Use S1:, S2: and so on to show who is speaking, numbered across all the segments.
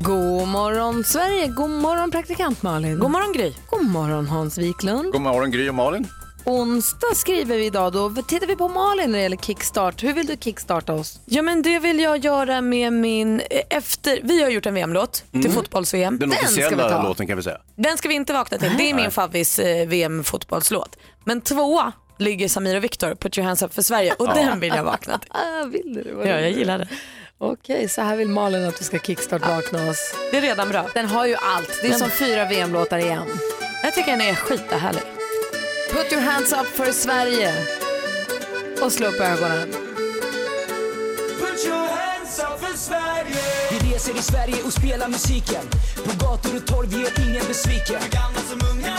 S1: God morgon Sverige, god morgon praktikant Malin. God morgon Gry. God morgon Hans Wiklund.
S2: God morgon Gry och Malin.
S1: Onsdag skriver vi idag då. Tittar vi på Malin när det gäller kickstart. Hur vill du kickstarta oss?
S3: Ja men det vill jag göra med min, eh, efter, vi har gjort en VM-låt till fotbolls-VM.
S2: Den,
S3: ska vi
S2: officiella
S3: ta.
S2: låten kan vi säga.
S3: Den ska vi inte vakna till, det är min favvis eh, VM-fotbollslåt. Men tvåa ligger Samir och Viktor, Put your hands up för Sverige och den vill jag vakna till.
S1: Ah, vill du?
S3: Ja, jag gillar det.
S1: Okej, så här vill Malin att vi ska kickstart-vakna oss.
S3: Det är redan bra.
S1: Den har ju allt. Det är som fyra VM-låtar igen.
S3: Jag tycker den är skithärlig.
S1: Put your hands up för Sverige. Och slå upp ögonen.
S4: Vi reser i Sverige och spelar musiken På gator och torg, vi gör ingen besviken För gamla som unga,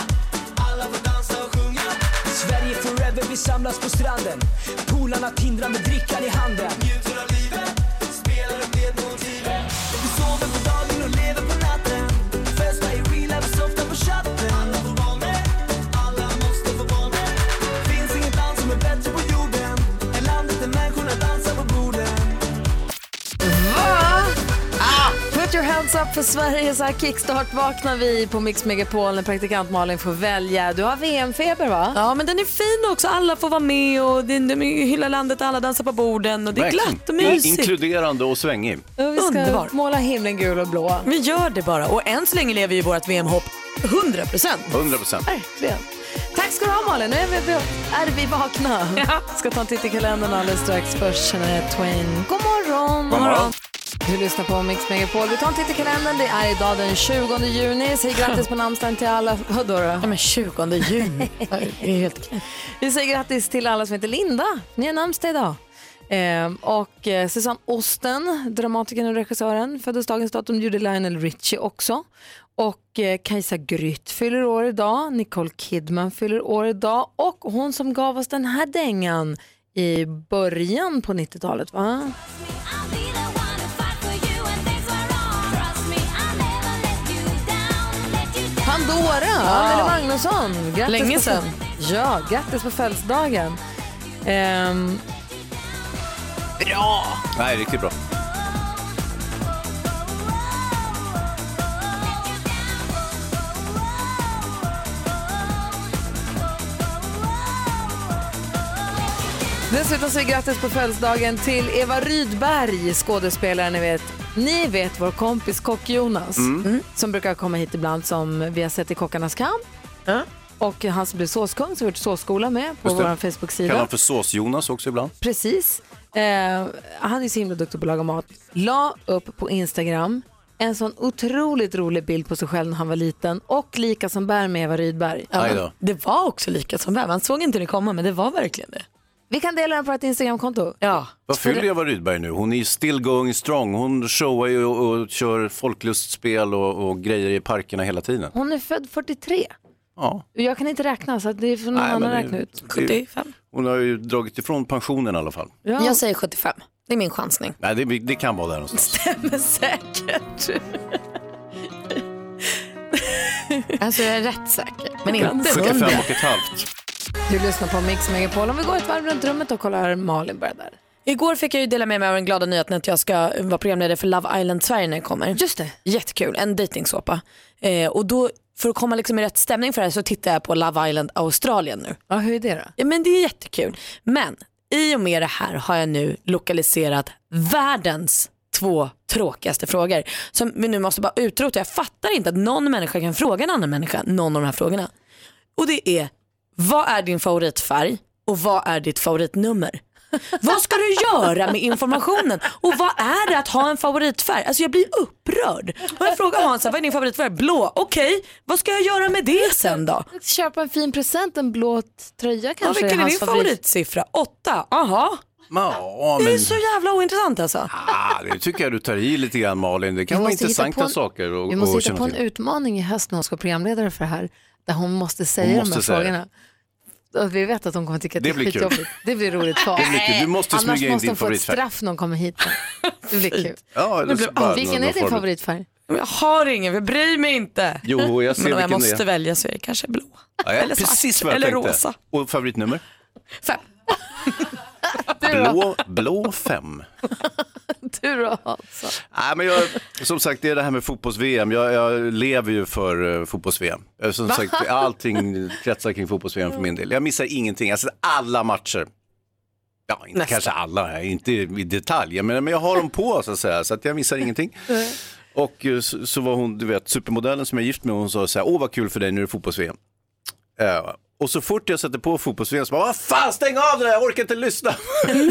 S4: alla får dansa och sjunga Sverige forever, vi samlas på stranden Polarna tindrar med drickan i handen Njuter av livet, spelar upp det motivet Vi sover på dagen och lever på natten Festar i real life, softar på chatten Alla får barnen, alla måste få barnen Finns inget land som är bättre på jorden Än landet där människorna dansar på borden
S1: Ah. Put your hands up för Sverige, så här kickstart vaknar vi på Mix Megapol när praktikant Malin får välja. Du har VM-feber va?
S3: Ja men den är fin också, alla får vara med och det är- de hyllar landet, alla dansar på borden och det är
S2: Verkligen.
S3: glatt och mysigt.
S2: Inkluderande och svängig.
S1: Ja, vi ska
S3: underbar.
S1: måla himlen gul och blå.
S3: Vi gör det bara och än så länge lever ju vårt VM-hopp 100%.
S2: 100 procent.
S1: Verkligen. Tack ska du ha Malin, nu är vi, är vi vakna. Ska ta en titt i kalendern alldeles strax. Först Shania Twain. God morgon.
S2: God morgon.
S1: Du lyssnar på Mix Megapol. Vi tar en titt i kalendern. Det är idag den 20 juni. Säg grattis på namnsdagen till alla. Vadå då?
S3: Ja men 20 juni, det är helt
S1: Vi säger grattis till alla som heter Linda. Ni har namnsdag idag. Ehm, och eh, Susanne Osten, dramatikern och regissören, föddes dagens datum, gjorde Lionel Richie också. Och eh, Kajsa Grytt fyller år idag, Nicole Kidman fyller år idag och hon som gav oss den här dängan i början på 90-talet va?
S5: I'll be the one to fight for you when things were wrong. Trust me, I'll never let you down, let you down.
S1: Pandora, Anneli Magnusson. Grattis
S3: Länge
S1: på-
S3: sedan.
S1: Ja, grattis på födelsedagen. Ehm,
S2: Nej, riktigt bra.
S1: Dessutom säger grattis på födelsedagen till Eva Rydberg, skådespelaren ni vet. Ni vet vår kompis Kock-Jonas
S2: Mm.
S1: som brukar komma hit ibland som vi har sett i Kockarnas kamp. Och han som blev såskung som vi har gjort såsskola med på
S2: Just det.
S1: vår
S2: Kallar
S1: Facebook-sida.
S2: han för Sås-Jonas också ibland.
S1: Precis. Eh, han är så himla duktig på att laga mat. La upp på Instagram en sån otroligt rolig bild på sig själv när han var liten och lika som bär med Eva Rydberg.
S2: Aj
S3: Ja,
S2: då.
S3: det var också lika som väv. Man såg inte det komma men det var verkligen det.
S1: Vi kan dela den på vårt Instagramkonto.
S3: Ja.
S2: Vad fyller Eva Rydberg nu? Hon är ju still going strong. Hon showar ju och, och kör folklustspel och, och grejer i parkerna hela tiden.
S1: Hon är född 43.
S2: Ja.
S1: Jag kan inte räkna så att det får någon
S2: Nej, men
S1: annan
S2: det-
S1: räkna ut.
S3: 75.
S2: Hon har ju dragit ifrån pensionen i alla fall.
S1: Ja.
S3: Jag säger 75. Det är min chansning.
S2: Nej, det, det kan vara där någonstans.
S3: Men säkert.
S1: Alltså jag är rätt säker.
S3: Men inte
S2: 75
S3: 100.
S2: och ett halvt.
S1: Du lyssnar på Mix Megapol. Om vi går ett varv runt rummet och kollar Malin börjar där.
S3: Igår fick jag ju dela med mig av den glada nyheten att jag ska vara programledare för Love Island Sverige när det kommer.
S1: Just det.
S3: Jättekul, en dejtingsåpa. Eh, och då, för att komma liksom i rätt stämning för det här så tittar jag på Love Island Australien nu.
S1: Ja, hur är det då?
S3: Ja, men det är jättekul. Men i och med det här har jag nu lokaliserat världens två tråkigaste frågor som vi nu måste bara utrota. Jag fattar inte att någon människa kan fråga en annan människa någon av de här frågorna. Och det är, vad är din favoritfärg och vad är ditt favoritnummer? vad ska du göra med informationen? Och vad är det att ha en favoritfärg? Alltså jag blir upprörd. Och jag frågar Hans, vad är din favoritfärg? Blå. Okej, vad ska jag göra med det sen då?
S1: Köpa en fin present, en blå tröja
S3: Ja,
S1: kanske
S3: vilken är
S1: hans
S3: din favoritsiffra? Åtta? Aha.
S2: Ja,
S3: Det är
S2: men...
S3: så jävla ointressant alltså.
S2: Ah, det tycker jag du tar i lite grann Malin. Det kan
S1: Vi
S2: vara
S1: måste hitta
S2: intressanta
S1: på en-
S2: saker att
S1: Vi måste
S2: att
S1: hitta
S2: känna
S1: på en
S2: till.
S1: utmaning i höst när hon ska vara programledare för det här. där hon måste säga
S2: Hon
S1: de
S2: måste
S1: här
S2: säga det.
S1: frågorna. Och vi vet att hon kommer tycka att det,
S2: Det
S1: är
S2: blir kul.
S1: skitjobbigt. Det blir roligt för oss.
S2: blir kul. Du måste
S1: Annars
S2: smyga in
S1: måste
S2: din
S1: hon få ett
S2: favoritfärg.
S1: straff när hon kommer hit. Det blir kul.
S2: Ja, eller så bara
S1: Vilken
S2: någon-
S1: är
S2: någon
S1: din
S2: form-
S1: favoritfärg?
S3: Men Jag har ingen, jag bryr mig inte.
S2: Jo, jag ser
S3: Men om jag
S2: vilken
S3: måste
S2: det är.
S3: välja så är det kanske blå.
S2: Ja, ja,
S3: eller svart,
S2: precis vad jag
S3: eller
S2: tänkte.
S3: rosa.
S2: Och favoritnummer?
S3: Fem.
S2: Blå, blå fem.
S1: Du då alltså.
S2: Nej, men jag, som sagt, det är det här med fotbolls-VM. Jag, jag lever ju för eh, fotbolls-VM. Eh, Som sagt, allting kretsar kring fotbolls-VM för min del. Jag missar ingenting. Jag har sett alla matcher. Ja, inte
S3: Nästan.
S2: kanske alla, inte i detalj, men, men jag har dem på så att säga, så att jag missar ingenting. Och eh, så, så var hon, du vet, supermodellen som jag är gift med, hon sa så här, åh vad kul för dig, nu är det fotbolls-VM. Eh, och så fort jag sätter på fotbolls-VM så bara, vad fan stäng av det där, jag orkar inte lyssna.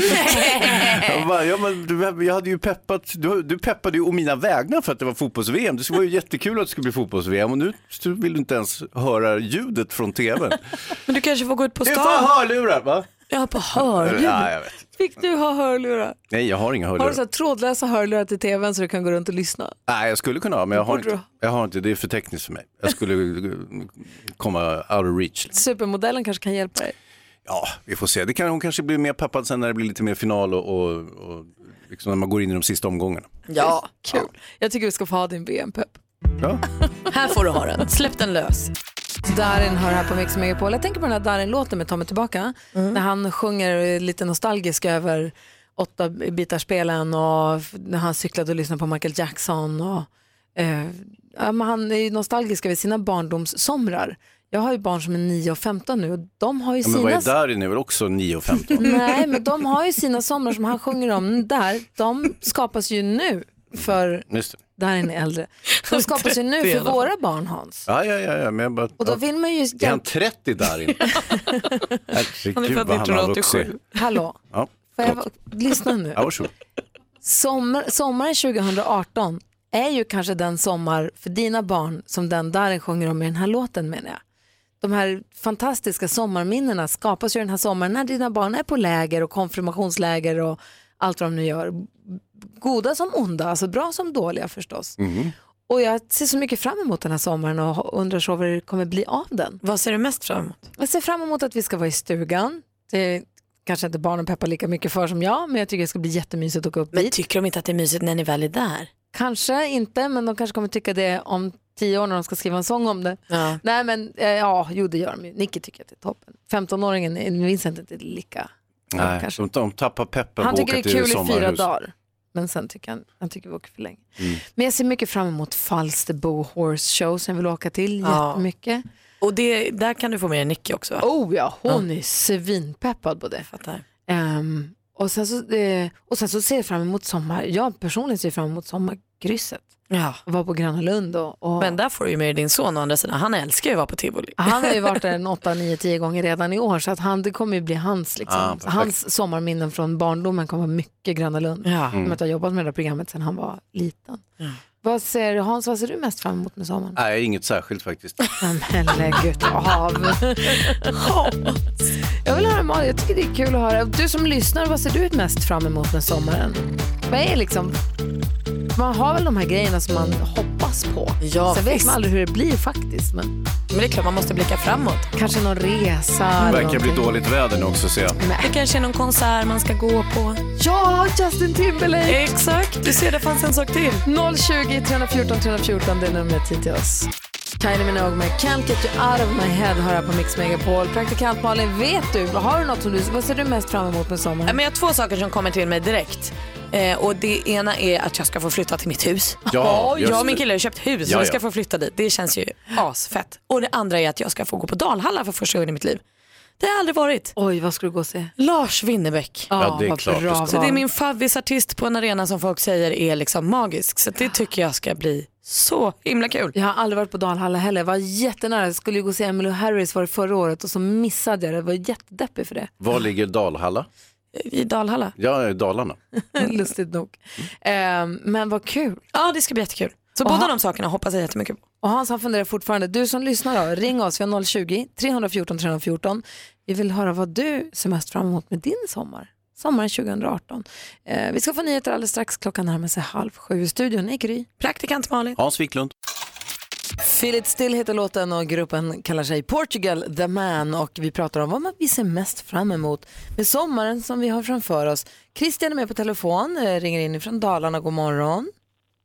S2: Jag bara, ja, men du, jag hade ju peppat, du, du peppade ju å mina vägnar för att det var fotbolls-VM. Det var ju jättekul att det skulle bli fotbolls-VM och nu vill du inte ens höra ljudet från tvn.
S3: Men du kanske får gå ut på
S2: Det är fan
S3: stan.
S2: hörlurar va?
S3: Jag har på hörljud.
S2: Ja, jag vet.
S1: Fick du ha hörlurar?
S2: Nej, jag har inga
S1: Har
S2: hörlurar.
S1: du så här trådlösa hörlurar till tvn så du kan gå runt och lyssna?
S2: Nej, jag skulle kunna ha, men jag har,
S1: borde
S2: inte, jag har inte. Det är för tekniskt för mig. Jag skulle eh, komma out of reach.
S1: Supermodellen kanske kan hjälpa dig.
S2: Ja, vi får se. Det kan, hon kanske blir mer peppad sen när det blir lite mer final och, och, och liksom när man går in i de sista omgångarna.
S3: Ja,
S1: Kul. Jag tycker du ska få ha din VM-pepp.
S2: Ja.
S3: här får du ha den. Släpp den lös.
S1: Darin hör här på Mix Megapol. Jag tänker på den här Darin-låten med Tommy tillbaka.
S2: Mm.
S1: När han sjunger lite nostalgisk över åtta bitarspelen och f- när han cyklade och lyssnade på Michael Jackson. Och, eh, ja, men han är ju nostalgisk över sina barndomssomrar. Jag har ju barn som är 9 och 15 nu och de har ju
S2: Ja, men vad
S1: sina...
S2: är där inne? är väl också 9.15?
S1: Nej, men de har ju sina somrar som han sjunger om där. De skapas ju nu för
S2: Just det.
S1: Darin är äldre. De skapas ju nu för våra barn Hans.
S2: Ja, ja, ja, ja, men jag bara...
S1: Och då vill man ju...
S2: Är han 30 där inne? Herregud vad han har vuxit.
S1: Hallå?
S2: Ja,
S1: Får jag,
S2: förlåt.
S1: va- lyssna nu.
S2: Ja, varsågod.
S1: Sommar, sommaren 2018 är ju kanske den sommar för dina barn som den Darin sjunger om i den här låten menar jag. De här fantastiska sommarminnena skapas ju den här sommaren när dina barn är på läger och konfirmationsläger och allt vad de nu gör. Goda som onda, alltså bra som dåliga förstås. Och jag ser så mycket fram emot den här sommaren och undrar så vad det kommer bli av den.
S3: Vad ser du mest fram emot?
S1: Jag ser fram emot att vi ska vara i stugan. Det kanske inte barnen peppar lika mycket för som jag, men jag tycker det ska bli jättemysigt att åka upp
S3: Men
S1: dit.
S3: tycker de inte att det är mysigt när ni väl är där?
S1: Kanske inte, men de kanske kommer tycka det om tio år när de ska skriva en sång om det.
S3: Ja.
S1: Nej men eh, ja, jo det gör de ju. Nicky tycker att det är toppen. 15-åringen är- Vincent är inte lika. Ja,
S2: Nej,
S1: kanske.
S2: de, de tappar peppen
S1: Han
S2: på
S1: tycker
S2: att
S1: det
S2: åka
S1: är
S2: till
S1: kul i fyra
S2: sommarhus. Mm.
S1: dagar. Men sen tycker han, han tycker vi åker för länge. Men jag ser mycket fram emot Falsterbo Horse Show som jag vill åka till
S3: Ja.
S1: jättemycket.
S3: Och det, där kan du få med dig Nicky också va?
S1: Oh ja, hon är svinpeppad på det.
S3: Fattar.
S1: Ehm, och, sen så, eh, och sen så ser jag fram emot sommar, jag personligen ser fram emot sommarkrysset.
S3: Ja.
S1: Var på Gröna Lund och, och
S3: Men där får du ju med dig din son å andra sidan. Han älskar ju att vara på tivoli.
S1: Han har ju varit där en 8, 9, 10 gånger redan i år så att han, det kommer ju bli hans, liksom.
S2: Ah, perfekt.
S1: hans sommarminnen från barndomen kommer vara mycket Gröna Lund.
S3: Ja.
S2: Mm.
S1: I och med att jag har jobbat med det här programmet sedan han var liten. Vad ser, Hans, vad ser du mest fram emot med sommaren?
S2: Nej, inget särskilt faktiskt.
S1: Men lägg av. jag vill höra Malin, jag tycker det är kul att höra. Du som lyssnar, vad ser du mest fram emot med sommaren? Vad är liksom, man har väl de här grejerna som man hoppas på.
S3: Ja,
S1: Sen vet
S3: visst.
S1: man aldrig hur det blir faktiskt. Men
S3: Men det är klart man måste blicka framåt.
S1: kanske någon resa.
S2: Det
S1: eller
S2: verkar bli
S1: någonting.
S2: dåligt väder nu också ser jag.
S3: Det kanske är någon konsert man ska gå på.
S1: Ja, Justin Timberlake!
S3: Exakt, du ser det fanns en sak till.
S1: 020 314 314, det är numret hit till oss. Kylie Minogue med Can't Get You Out of My Head hör jag på Mix Megapol. Praktikant Malin, vet du, har du något som du, vad ser du mest fram emot med sommaren?
S3: Men jag har två saker som kommer till mig direkt. Eh, och det ena är att jag ska få flytta till mitt hus.
S2: Ja, just
S3: jag och min
S2: det.
S3: kille har köpt hus
S2: Ja,
S3: så vi
S2: ja.
S3: ska få flytta dit. Det känns ju asfett. Och det andra är att jag ska få gå på Dalhalla för första gången i mitt liv. Det har jag aldrig varit.
S1: Oj, vad ska du gå och se?
S3: Lars Winnerbäck.
S2: Ja, det är
S1: vad
S2: klart du
S1: bra
S2: ska.
S3: Så det är
S1: val.
S3: min favvisartist på en arena som folk säger är liksom magisk. Så det tycker jag ska bli så himla kul.
S1: Jag har aldrig varit på Dalhalla heller. Jag var jättenära. Jag skulle ju gå och se Emily Harris var det förra året och så missade jag det. Jag var jättedeppig för det.
S2: Var ligger Dalhalla?
S3: I Dalhalla.
S2: Ja, i Dalarna.
S1: Lustigt nog. Ehm, men vad kul.
S3: Ja det ska bli jättekul. Så båda de sakerna hoppas jag jättemycket på.
S1: Och Hans han funderar fortfarande. Du som lyssnar då, ring oss. Vi har 020 314 314. Vi vill höra vad du ser mest fram emot med din sommar. Sommaren 2018. Eh, vi ska få nyheter alldeles strax. Klockan närmar sig halv sju. I studion är Gry.
S3: Praktikant Malin.
S2: Hans Wiklund.
S1: Feel it still heter låten och gruppen kallar sig Portugal the man och vi pratar om vad man- vi ser mest fram emot med sommaren som vi har framför oss. Christian är med på telefon, eh, ringer in från Dalarna, god morgon.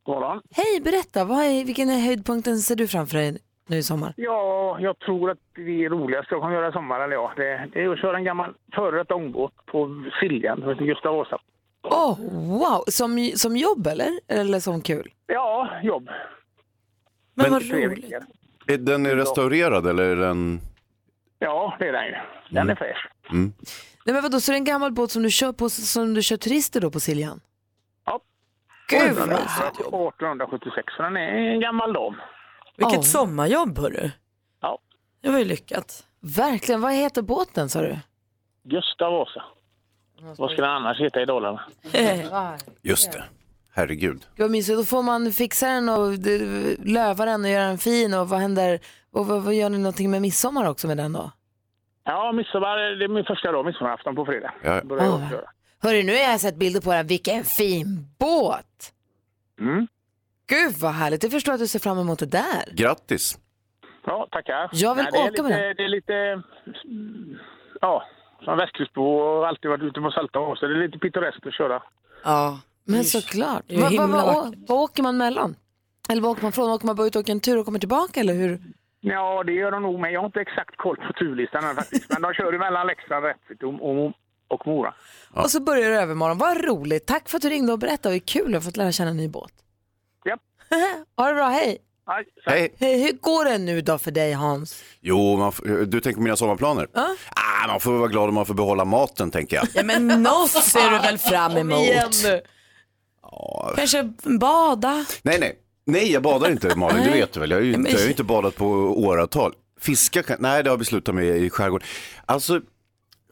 S6: Godmorgon.
S1: Hej, berätta, vad är, vilken är höjdpunkten ser du framför dig nu i sommar?
S6: Ja, jag tror att det roligaste jag kommer göra i sommar, eller ja, det, det är att köra en gammal före detta ångbåt på Siljan, som heter Gustav Vasa.
S1: Åh, oh, wow, som, som jobb eller? Eller som kul?
S6: Ja, jobb.
S3: Men vad
S6: Tre
S3: roligt.
S6: veckor.
S2: Är den är restaurerad eller är den...
S6: Ja, det är den ju. Den
S1: Mm.
S6: är fräsch.
S1: Nej men vadå, så det är en gammal båt som du kör, på, som du kör turister då på Siljan?
S6: Ja.
S1: Gud vad
S6: Den är
S1: mysigt.
S6: 1876, så den är en gammal dam.
S3: Vilket
S1: Ja.
S3: sommarjobb hörru.
S6: Ja.
S3: Det var ju lyckat.
S1: Verkligen, vad heter båten sa du?
S6: Gustav Vasa. Vad skulle den annars heta i Dalarna?
S2: Just det. Herregud.
S1: Gud, Vad mysigt, då får man fixa den och d- löva den och göra den fin och vad händer, och vad, vad gör ni någonting med midsommar också med den då?
S6: Ja, midsommar, Eh, det är min första dag, midsommarafton på fredag.
S2: Ja.
S6: Börjar jag
S1: Ah.
S6: köra.
S1: Hörru, nu har jag sett bilder på den, vilken fin båt!
S6: Mm.
S1: Gud vad härligt, jag förstår att du ser fram emot det där.
S2: Grattis.
S6: Ja, tackar.
S1: Jag vill
S6: det är
S1: åka
S6: lite,
S1: med den.
S6: Det är lite... mm, Ja, som västkustbo och alltid varit ute på salta hav, så det är lite pittoreskt att köra.
S3: Ja.
S1: Men såklart.
S3: ju
S1: Vad va,
S3: himla
S1: va, å- vad åker man mellan? Eller vad åker man från? Åker man bara ut och åker en tur och kommer tillbaka eller hur?
S6: Ja, det gör de nog, men jag har inte exakt koll på turlistan än faktiskt. Men de kör ju mellan Leksand, Rättvik och, och, och Mora.
S1: Och så börjar det övermorgon. Vad roligt. Tack för att du ringde och berättade. Det är kul att ha fått lära känna en ny båt.
S6: Japp.
S1: ha det bra, hej.
S6: Aj, så-
S2: Hej.
S1: hej. Hur går det nu då för dig Hans?
S2: Jo, man f- du tänker på mina sommarplaner? Ah, man får vara glad om man får behålla maten, tänker jag.
S3: ja men något ser du väl fram emot?
S1: nu.
S3: Kanske bada?
S2: Nej, nej. Nej, jag badar inte Malin, det vet du väl. Jag har ju inte, jag har ju inte badat på åratal. Fiska kan, nej det har vi slutat med i skärgården. Alltså,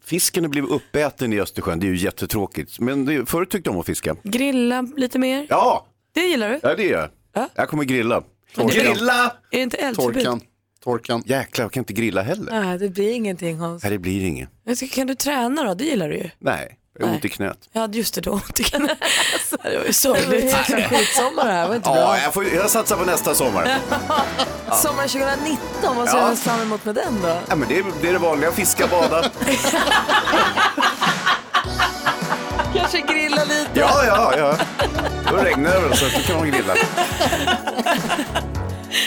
S2: fisken har blivit uppäten i Östersjön, det är ju jättetråkigt. Men det, förut tyckte de om att fiska.
S3: Grilla lite mer?
S2: Ja,
S3: Det gillar du?
S2: ja det gör jag. Jag kommer grilla. Grilla!
S3: Är det inte eldförbud?
S7: Torkan. Torkan.
S2: Jäklar, jag kan inte grilla heller.
S1: Nej, det blir ingenting Hans.
S2: Nej, det blir inget.
S3: Jag tycker, Kan du träna då? Det gillar du ju.
S2: Nej, jag har ont i knät.
S3: Ja just det, då.
S1: Alltså,
S3: det var ju sorgligt.
S1: Skitsommar här, var inte bra.
S2: Ja, jag, får, jag satsar på nästa sommar.
S1: Sommaren 2019, vad ser du
S2: Ja.
S1: mest fram emot med den då?
S2: Ja, men det, är, det är det vanliga, fiska, bada.
S1: Kanske grilla lite.
S2: Ja, ja, ja. Då regnar det väl så att då kan man grilla.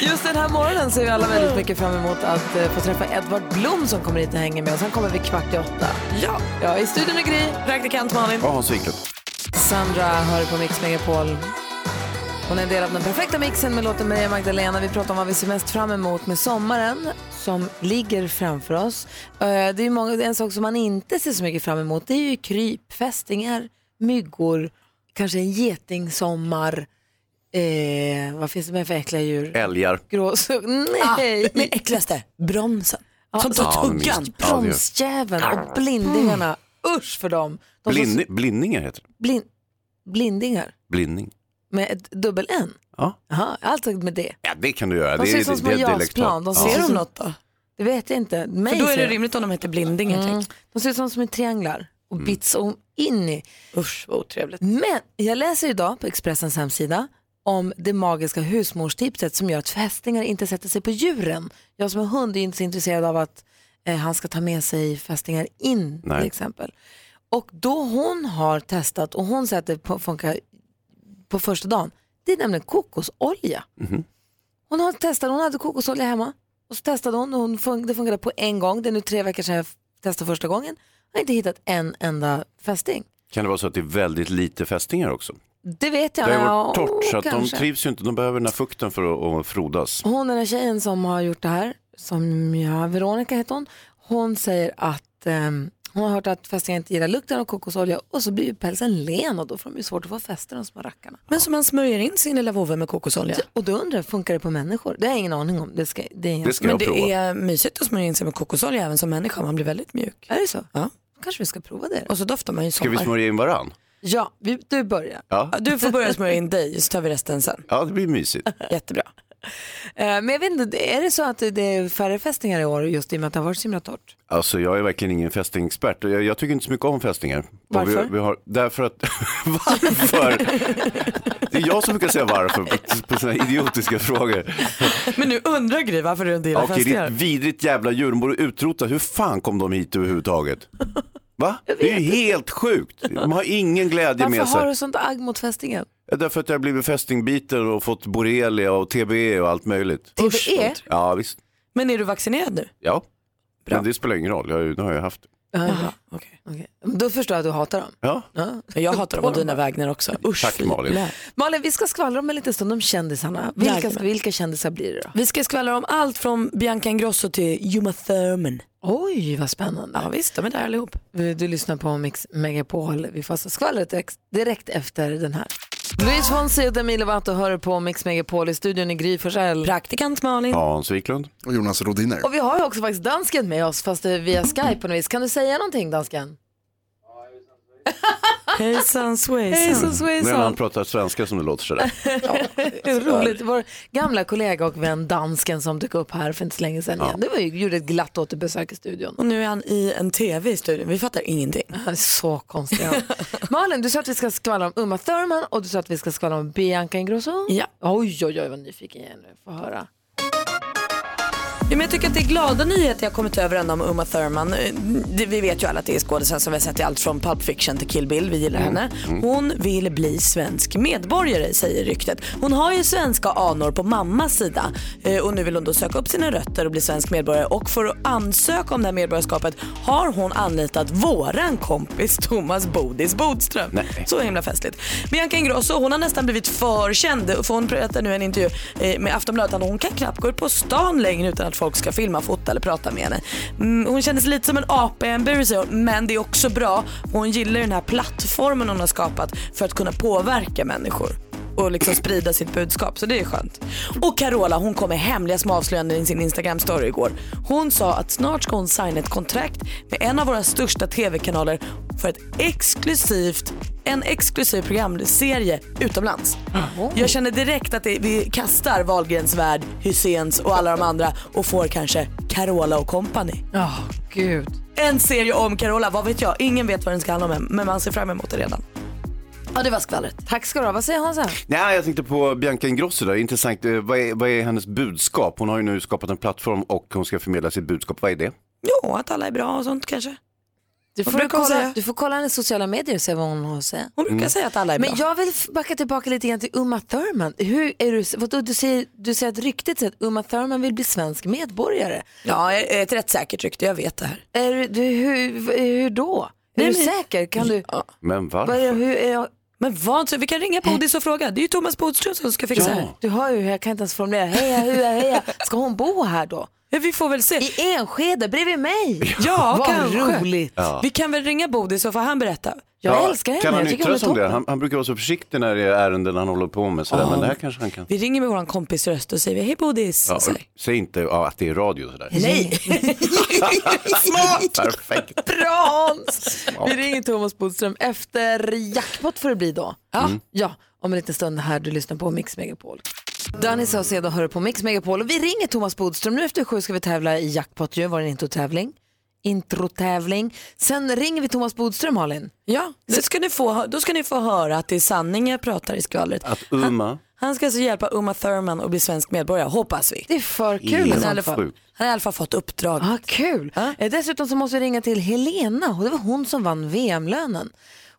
S1: Just den här morgonen ser vi alla väldigt mycket fram emot att eh, få träffa Edvard Blom som kommer hit och hänger med oss. Han kommer vid kvart i åtta.
S3: ja.
S1: Ja, i studion är Gry.
S3: Praktikant Malin.
S2: Ja, Hans Wiklund.
S1: Sandra hör på Mix Megapol. Hon är en del av den perfekta mixen med låten Maria Magdalena. Vi pratar om vad vi ser mest fram emot med sommaren som ligger framför oss. Eh, Det är ju många, en sak som man inte ser så mycket fram emot det är ju kryp, fästingar, myggor, kanske en getingsommar. Eh, vad finns det mer för äckliga djur?
S2: Älgar.
S1: Gråsugg?
S3: Ah,
S1: Nej!
S3: men äckligaste, bromsen. Som tar
S2: Ja, men
S3: tuggan.
S2: minst. Ja, det gör-
S1: Bromsjäveln och blindingarna. Usch för dem. De som-
S2: Blindning, blindningar heter det.
S1: blin, blindingar
S2: Blindning.
S1: med ett dubbel N.
S2: Ja.
S1: Jaha, alltså med det.
S2: ja, det kan du göra.
S1: De
S2: det,
S1: ser
S2: är-
S1: ut som
S2: det-
S1: små
S2: det är dialektalt.
S1: jasplan. De ser
S3: Ser
S1: ut
S3: de
S1: som,
S3: något då?
S1: det vet jag inte.
S3: För
S1: Mig
S3: då är
S1: ser
S3: det
S1: de.
S3: rimligt om de heter blindingar.
S1: Mm.
S3: tänk.
S1: De ser ut som små trianglar och bits om in i.
S3: Mm. Usch vad otrevligt.
S1: Men jag läser idag på Expressens hemsida om det magiska husmorstipset som gör att fästingar inte sätter sig på djuren. Jag som är hund är inte så intresserad av att eh, han ska ta med sig fästingar in
S2: Nej.
S1: till exempel. Och då hon har testat och hon säger att det på- funkar på första dagen, det är nämligen kokosolja. Hon har testat, hon hade kokosolja hemma och så testade hon och hon fun- det fungerade på en gång. Det är nu tre veckor sedan jag f- testade första gången. Jag har inte hittat en enda fästing.
S2: Kan det vara så att det är väldigt lite fästingar också?
S1: Det vet jag.
S2: Det har
S1: Ja, oh,
S2: varit torrt så att
S1: kanske.
S2: de trivs ju inte. De behöver den här fukten för att, att frodas.
S1: Hon den här tjejen som har gjort det här, som ja, Veronica heter hon, hon säger att ehm, hon har hört att fästingar inte gillar lukten av kokosolja och så blir ju pälsen len och då får de ju svårt att få fäste de små rackarna.
S3: Men som man smörjer in sin lilla vovve med kokosolja.
S1: Och då undrar jag, funkar det på människor? Det har jag ingen aning om. Det ska, det är, ingen-
S2: Det ska
S3: Men
S2: jag
S3: det
S2: prova.
S3: är mysigt att smörja in sig med kokosolja även som människa. Man blir väldigt mjuk.
S1: är det så?
S3: Ja.
S1: Då kanske vi ska prova det då.
S3: Och så doftar man ju
S2: Ska vi
S3: sommar.
S2: smörja in varann?
S1: Ja, vi, du börjar.
S2: Ja.
S3: Ja, Du får börja smörja in dig så tar vi resten sen.
S2: ja, det blir mysigt.
S3: Jättebra.
S1: Eh, Men jag vet inte, är det så att det är färre fästingar i år just i och med att det har varit så himla torrt?
S2: Alltså jag är verkligen ingen fästingexpert och jag, jag tycker inte så mycket om fästingar. Och
S1: Varför?
S2: Vi, vi har, därför att, varför? Det är jag som brukar säga varför på, på sådana idiotiska frågor.
S3: Men nu undrar Gry varför du inte gillar
S2: Okej, det är
S3: fästingar.
S2: ett vidrigt jävla djur, de borde utrota. Hur fan kom de hit överhuvudtaget? Va? Det är ju helt sjukt. De har ingen glädje
S1: Varför
S2: med sig.
S1: har du sånt agg mot fästingen?
S2: Därför att jag har blivit fästingbiten och fått borrelia och TBE och allt möjligt.
S3: TBE?
S2: Ja, visst.
S3: Men är du vaccinerad nu?
S2: Ja. Men det spelar ingen roll, jag, har ju- nu har jag haft det.
S1: Ja,
S3: Okej.
S1: okay. Då förstår jag att du hatar dem.
S2: Ja.
S1: Ja.
S3: Men Jag hatar dem på dina vägnar också. Usch,
S2: Tack,
S3: fy.
S2: Malin.
S3: Lä.
S1: Malin, vi ska skvallra om en liten stund om kändisarna. Vilka,
S3: Jajamän.
S1: vilka kändisar blir det då?
S3: Vi ska skvallra om allt från Bianca Ingrosso till Juma Thurman. Mm.
S1: Oj, vad spännande.
S3: Ja visst, de är där allihop.
S1: Du lyssnar på Mix Megapol. Vi får alltså skvallret ex- direkt efter den här. Louise Fonsi och Demi Lovato hör på Mix Megapol i studion i Gry Forssell.
S3: Praktikant Malin.
S1: Ah.
S2: Hans Wiklund.
S7: Och Jonas Rodiner.
S1: Och vi har ju också faktiskt dansken med oss, fast eh, via Skype på något vis. Kan du säga någonting dansken?
S3: Hejsan svejsan.
S1: Hejsan
S2: Nu när han
S1: svejsan.
S2: pratar svenska som det låter sådär.
S1: Roligt. Vår gamla kollega och vän dansken som dök upp här för inte så länge sedan igen. Det var ju, gjorde ett glatt återbesök i studion.
S3: Och nu är han i en tv i studion. Vi fattar ingenting.
S1: Han är Så konstig. han. Malin, du sa att vi ska skvallra om Uma Thurman och du sa att vi ska skvallra om Bianca Ingrosso.
S3: Ja.
S1: Oj, oj, oj, vad nyfiken jag är nu. Få höra.
S3: Ja, men jag tycker att det är glada nyheter jag kommit över ändå om Uma Thurman. Eh, det- Vi vet ju alla att det är skådisen som vi har sett i allt från Pulp Fiction till Kill Bill. Vi gillar henne. Hon vill bli svensk medborgare säger ryktet. Hon har ju svenska anor på mammas sida Eh, och nu vill hon då söka upp sina rötter och bli svensk medborgare och för att ansöka om det här medborgarskapet har hon anlitat våran kompis Thomas Bodis Bodström. Så himla festligt. Bianca Ingrosso hon har nästan blivit för känd för hon berättar nu i en intervju eh, med Aftonbladet att hon kan knappt gå ut på stan längre utan att folk ska filma, fota eller prata med henne. Mm, hon känner sig lite som en apa i en bur säger hon, men det är också bra. Hon gillar den här plattformen hon har skapat för att kunna påverka människor och liksom sprida sitt budskap. Så det är skönt. Och Carola hon kom med hemliga små avslöjanden i sin Instagram-story igår. Hon sa att snart ska hon signa ett kontrakt med en av våra största tv-kanaler för ett exklusivt, en exklusiv programserie utomlands. Jag känner direkt att det, vi kastar Wahlgrens värld, Hyséns och alla de andra och får kanske Carola och company.
S1: Ja, gud.
S3: En serie om Carola, vad vet jag? Ingen vet vad den ska handla om än, men man ser fram emot det redan. Ja, det var skvallret.
S1: Tack ska du ha. Vad säger Hansa?
S2: Nej, jag tänkte på Bianca Ingrosso där. Intressant. Eh, Vad är, vad är hennes budskap? Hon har ju nu skapat en plattform och hon ska förmedla sitt budskap. Vad är det?
S3: Jo, att alla är bra och sånt kanske.
S1: Du får,
S3: brukar hon
S1: kolla,
S3: säga?
S1: du får kolla hennes sociala medier och se vad hon har att säga.
S3: Hon brukar
S2: Mm.
S3: säga att alla är bra.
S1: Men jag vill f- backa tillbaka lite grann till Uma Thurman. Hur är du, vadå, du, säger, du säger att ryktet säger att Uma Thurman vill bli svensk medborgare.
S3: Ja, ett rätt säkert rykte, jag vet det här.
S1: Är du, du, hur, hur då? Är du säker? Kan du,
S2: Men
S1: vad är, det-
S2: varför?
S1: hur är jag,
S3: Men vad, så vi kan ringa Bodis och fråga. Det är ju Thomas Bodström som ska fixa det här.
S1: du hör ju hur jag kan inte ens formulera. Heja, heja, heja. Ska hon bo här då?
S3: Men vi får väl se.
S1: I Enskede bredvid mig?
S3: Ja,
S1: Vad
S3: kanske.
S1: roligt.
S3: Vi kan väl ringa Bodis och få han berätta.
S1: Jag älskar henne.
S2: Kan han
S1: jag tycker hon
S2: yttra
S1: är
S2: sig om det?
S1: toppen.
S2: Han, han brukar vara så försiktig när det är ärenden han håller på med. Sådär. Men det här kanske han kan.
S3: Vi ringer med vår kompis röst och säger hej Bodis.
S2: Ja,
S3: Så här.
S2: säg inte ja, att det är radio sådär.
S3: Nej,
S2: Perfekt.
S1: Bra Hans! Vi ringer Thomas Bodström efter jackpot får det bli då. Ja,
S2: Mm.
S1: ja om en liten stund här du lyssnar på Mix Megapol. Danny Saucedo hör på Mix Megapol och vi ringer Thomas Bodström. Nu efter sju ska vi tävla i jackpot ju, var det en introtävling. Introtävling. Sen ringer vi Thomas Bodström, Malin.
S3: ja det ska ni få, då ska ni få höra att det är sanning jag pratar i skvallret.
S2: Att Uma,
S3: Han ska alltså hjälpa Uma Thurman att bli svensk medborgare, hoppas vi.
S1: Det är för kul i
S2: Helt
S1: alla
S2: sjukt.
S1: fall.
S3: Han har i alla fall fått uppdrag.
S1: Ah, kul! Eh, Dessutom så måste vi ringa till Helena och det var hon som vann VM-lönen.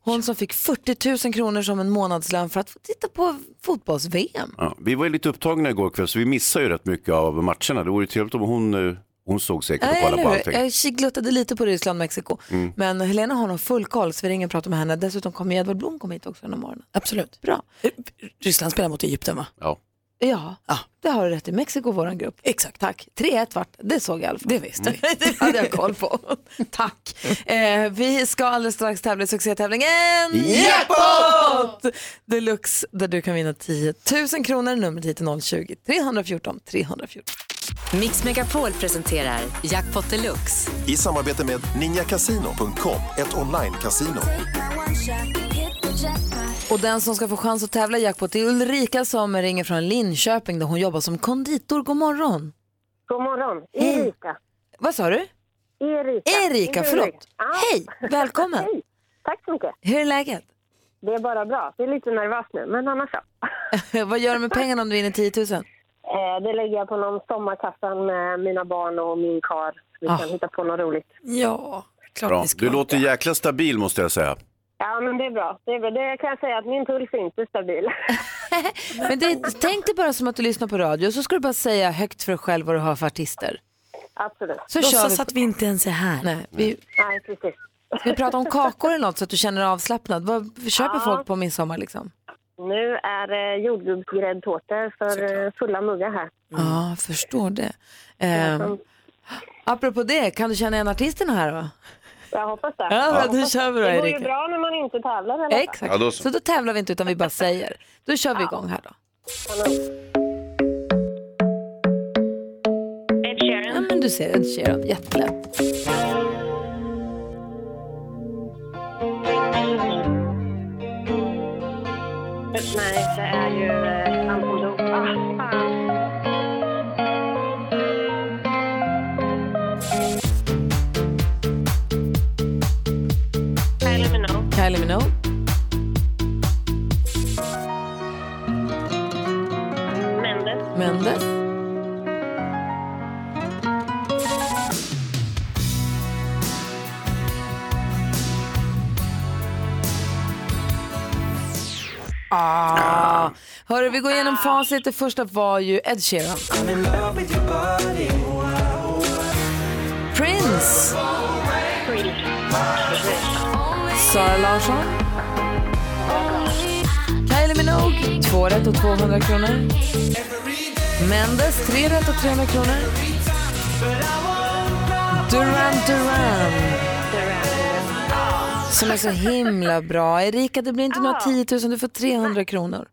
S1: Hon som fick 40 000 kronor som en månadslön för att få titta på fotbolls-VM.
S2: ja, vi var ju lite upptagna igår kväll så vi missade ju rätt mycket av matcherna. Det vore ju trevligt om hon, eh, hon såg säkert och
S1: Nej,
S2: kollade
S1: eller
S2: på
S1: hur?
S2: allting. Mm.
S1: Jag kikluttade lite på Ryssland och Mexiko. Men Helena har nog full koll så vi ringer och pratar med henne. Dessutom kommer Edvard Blom komma hit också den här morgonen.
S3: Absolut.
S1: Bra.
S3: Ryssland spelar mot Egypten va?
S2: Ja.
S1: Ja, det har du rätt i. Mexiko, våran grupp.
S3: Exakt.
S1: Tack. 3-1 vart det såg jag i alla fall.
S3: Det visste vi.
S1: Det hade jag koll på. Tack. Eh, vi ska alldeles strax tävla i succétävlingen Jackpot! Deluxe där du kan vinna 10 000 kronor. Numret hit är 020 314 314.
S8: Mix Megapol presenterar Jackpot Deluxe.
S7: I samarbete med ninjakasino.com, ett online-casino.
S5: Take my one shot, hit the
S1: Och den som ska få chans att tävla i jackpot är Ulrika som ringer från Linköping där hon jobbar som konditor. God morgon.
S7: God morgon. Erika.
S1: Vad sa du?
S7: Erika.
S1: Erika, förlåt.
S7: Ja.
S1: Hej, välkommen.
S7: Hej. Tack så mycket.
S1: Hur är läget?
S7: Det är bara bra. Jag är lite nervös nu, men annars så.
S1: Vad gör du med pengarna om du vinner 10 000?
S7: Eh, det lägger jag på någon sommarkassan med mina barn och min kar. Vi
S1: Ah.
S7: kan hitta på något roligt.
S3: Ja.
S2: Bra. Du låter jäkla stabil måste jag säga.
S7: Ja, men det är bra. Det, är bra. det kan jag säga att min puls är inte stabil.
S1: Men det, tänk dig bara som att du lyssnar på radio så ska du bara säga högt för dig själv vad du har för artister.
S7: Absolut.
S1: Så kör vi.
S3: Låtsas att vi inte ens är här.
S1: Nej, vi,
S7: Nej, precis.
S1: ska vi prata om kakor eller något så att du känner dig avslappnad? Vad köper
S7: Ja.
S1: folk på midsommar liksom?
S7: Nu är det jordgubbsgräddtårtor för eh, fulla muggar här.
S1: Ja, förstår det. Ehm, apropå det, kan du känna igen artisterna här då?
S7: Jag hoppas det.
S1: Ja,
S7: Jag
S1: men då
S7: hoppas
S1: kör vi då,
S7: Det går ju
S1: Erika.
S7: bra när man inte tävlar i alla fall.
S1: Exakt.
S2: Ja, då så.
S1: så. då tävlar vi inte utan vi bara säger. Då kör vi igång här då.
S7: Ed
S1: Ja,
S7: Sheeran.
S1: men du ser, Ed Sheeran, jättelätt.
S7: Nej, det är ju eh, Anton Lok. Ah, fan. Kylie Minogue.
S1: Kylie Minogue.
S7: Mendes.
S1: Mendes. Ah. Hörru, vi går igenom facit. Det första var ju Ed Sheeran. Prince. Sara Larsson. Kylie Minogue. Två rätt och 200 kronor. Mendes, tre rätt och 300 kronor. Duran Duran. Som är så himla bra. Erika, det blir inte några 10 000, du får 300 kronor.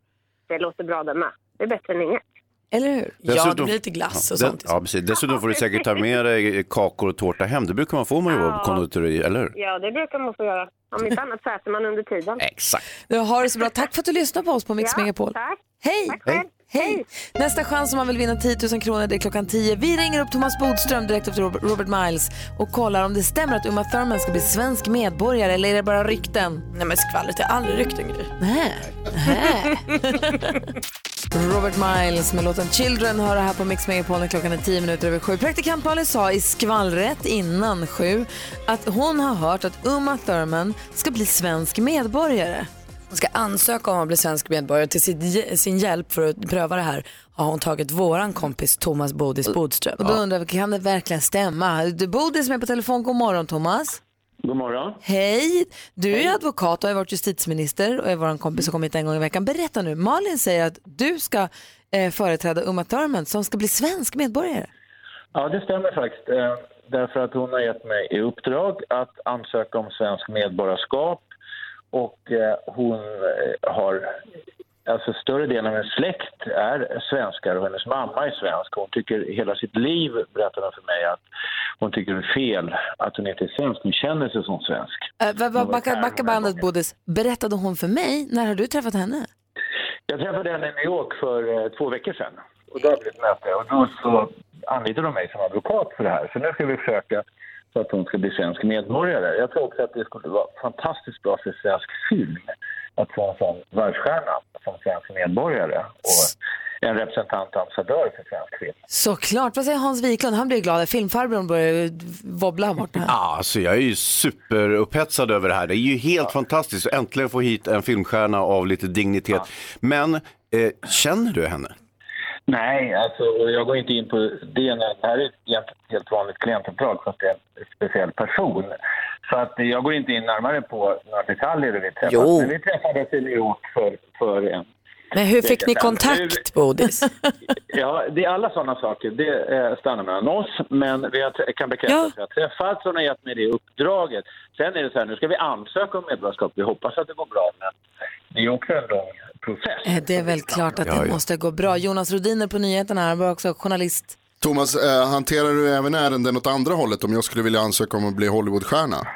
S7: Det låter bra det med. Det är bättre än inget.
S1: Eller hur?
S3: Ja, det
S2: Dessutom-
S3: blir lite glass och
S2: Ja,
S3: Alltså, sånt.
S2: Ja, precis. Dessutom får du säkert ta med dig kakor och tårta hem. Det brukar man få om man jobbar på konditori, eller hur?
S7: Ja, det brukar man få göra. Om inte annat så äter man under tiden.
S2: Exakt.
S1: Du har det så bra. Tack för att du lyssnar på oss på Mix Megapol.
S7: Tack.
S1: Hej!
S7: Tack själv.
S1: Hej! Nästa chans om man vill vinna 10 000 kronor det är klockan 10. Vi ringer upp Thomas Bodström direkt efter Robert- Robert Miles och kollar om det stämmer att Uma Thurman ska bli svensk medborgare eller är det bara rykten?
S3: Nej men skvallret, jag har aldrig ryckt en grej.
S1: Nej. Nej. Robert Miles med låten Children hör det här på Mix Megapol när klockan är 10 minuter över sju. Praktikant Malin sa i skvallret innan sju att hon har hört att Uma Thurman ska bli svensk medborgare.
S3: Hon ska ansöka om att bli svensk medborgare. Till sitt, sin hjälp för att pröva det här har hon tagit våran kompis Thomas Bodis Bodström.
S1: Och då undrar vi, kan det verkligen stämma? Du Bodil som är på telefon, god morgon Thomas.
S6: God morgon.
S1: Hej! Du är advokat och har varit justitieminister och är vår kompis och kommit en gång i veckan. Berätta nu, Malin säger att du ska eh, företräda Uma Thurman som ska bli svensk medborgare.
S6: Ja, det stämmer faktiskt. Eh, Därför att hon har gett mig i uppdrag att ansöka om svensk medborgarskap och eh, hon eh, har, alltså större delen av hennes släkt är svenskar och hennes mamma är svensk. Hon tycker hela sitt liv, berättar hon för mig, att hon tycker det är fel att hon inte är svensk. Hon känner sig som svensk.
S1: Eh, va- va- backa, backa bandet Bodis, berättade hon för mig, när har du träffat henne?
S6: Jag träffade henne i New York för eh, två veckor sedan. Och då hade vi ett möte och då så anlitade de mig som advokat för det här. Så nu ska vi försöka så att hon ska bli svensk medborgare. Jag tror också att det skulle vara fantastiskt bra för svensk film att få en sån världsstjärna som svensk medborgare och en representant och ambassadör för svensk film.
S1: Såklart, vad säger Hans Wiklund? Han blir glad, filmfarbrorn börjar ju wobbla här borta.
S2: Ja, alltså jag är ju superupphetsad över det här. Det är ju helt fantastiskt att äntligen få hit en filmstjärna av lite dignitet. Men eh, känner du henne?
S6: Nej, alltså, och jag går inte in på det. när- Det här är ett helt- helt vanligt klientuppdrag fast det är en speciell person. Så att eh, jag går inte in närmare på några detaljer. hur Vi träffades.
S3: Jo.
S6: Men vi träffades i New York för, för en...
S3: Men hur fick ni kontakt Bodis?
S6: Ja, det är alla sådana saker. Det eh, stannar mellan oss. Men vi har, trä- jag kan bekräfta
S3: Ja.
S6: att vi har träffats. Hon har gett mig det uppdraget. Sen är det så här, nu ska vi ansöka om medborgarskap. Vi hoppas att det går bra, men det är också en lång process.
S1: Eh, Det är väl klart att
S2: Ja,
S1: det
S2: ja.
S1: måste gå bra. Jonas Rodiner på nyheterna, här, han var också journalist.
S9: Thomas, eh, hanterar du även ärenden åt andra hållet om jag skulle vilja ansöka om att bli Hollywoodstjärna?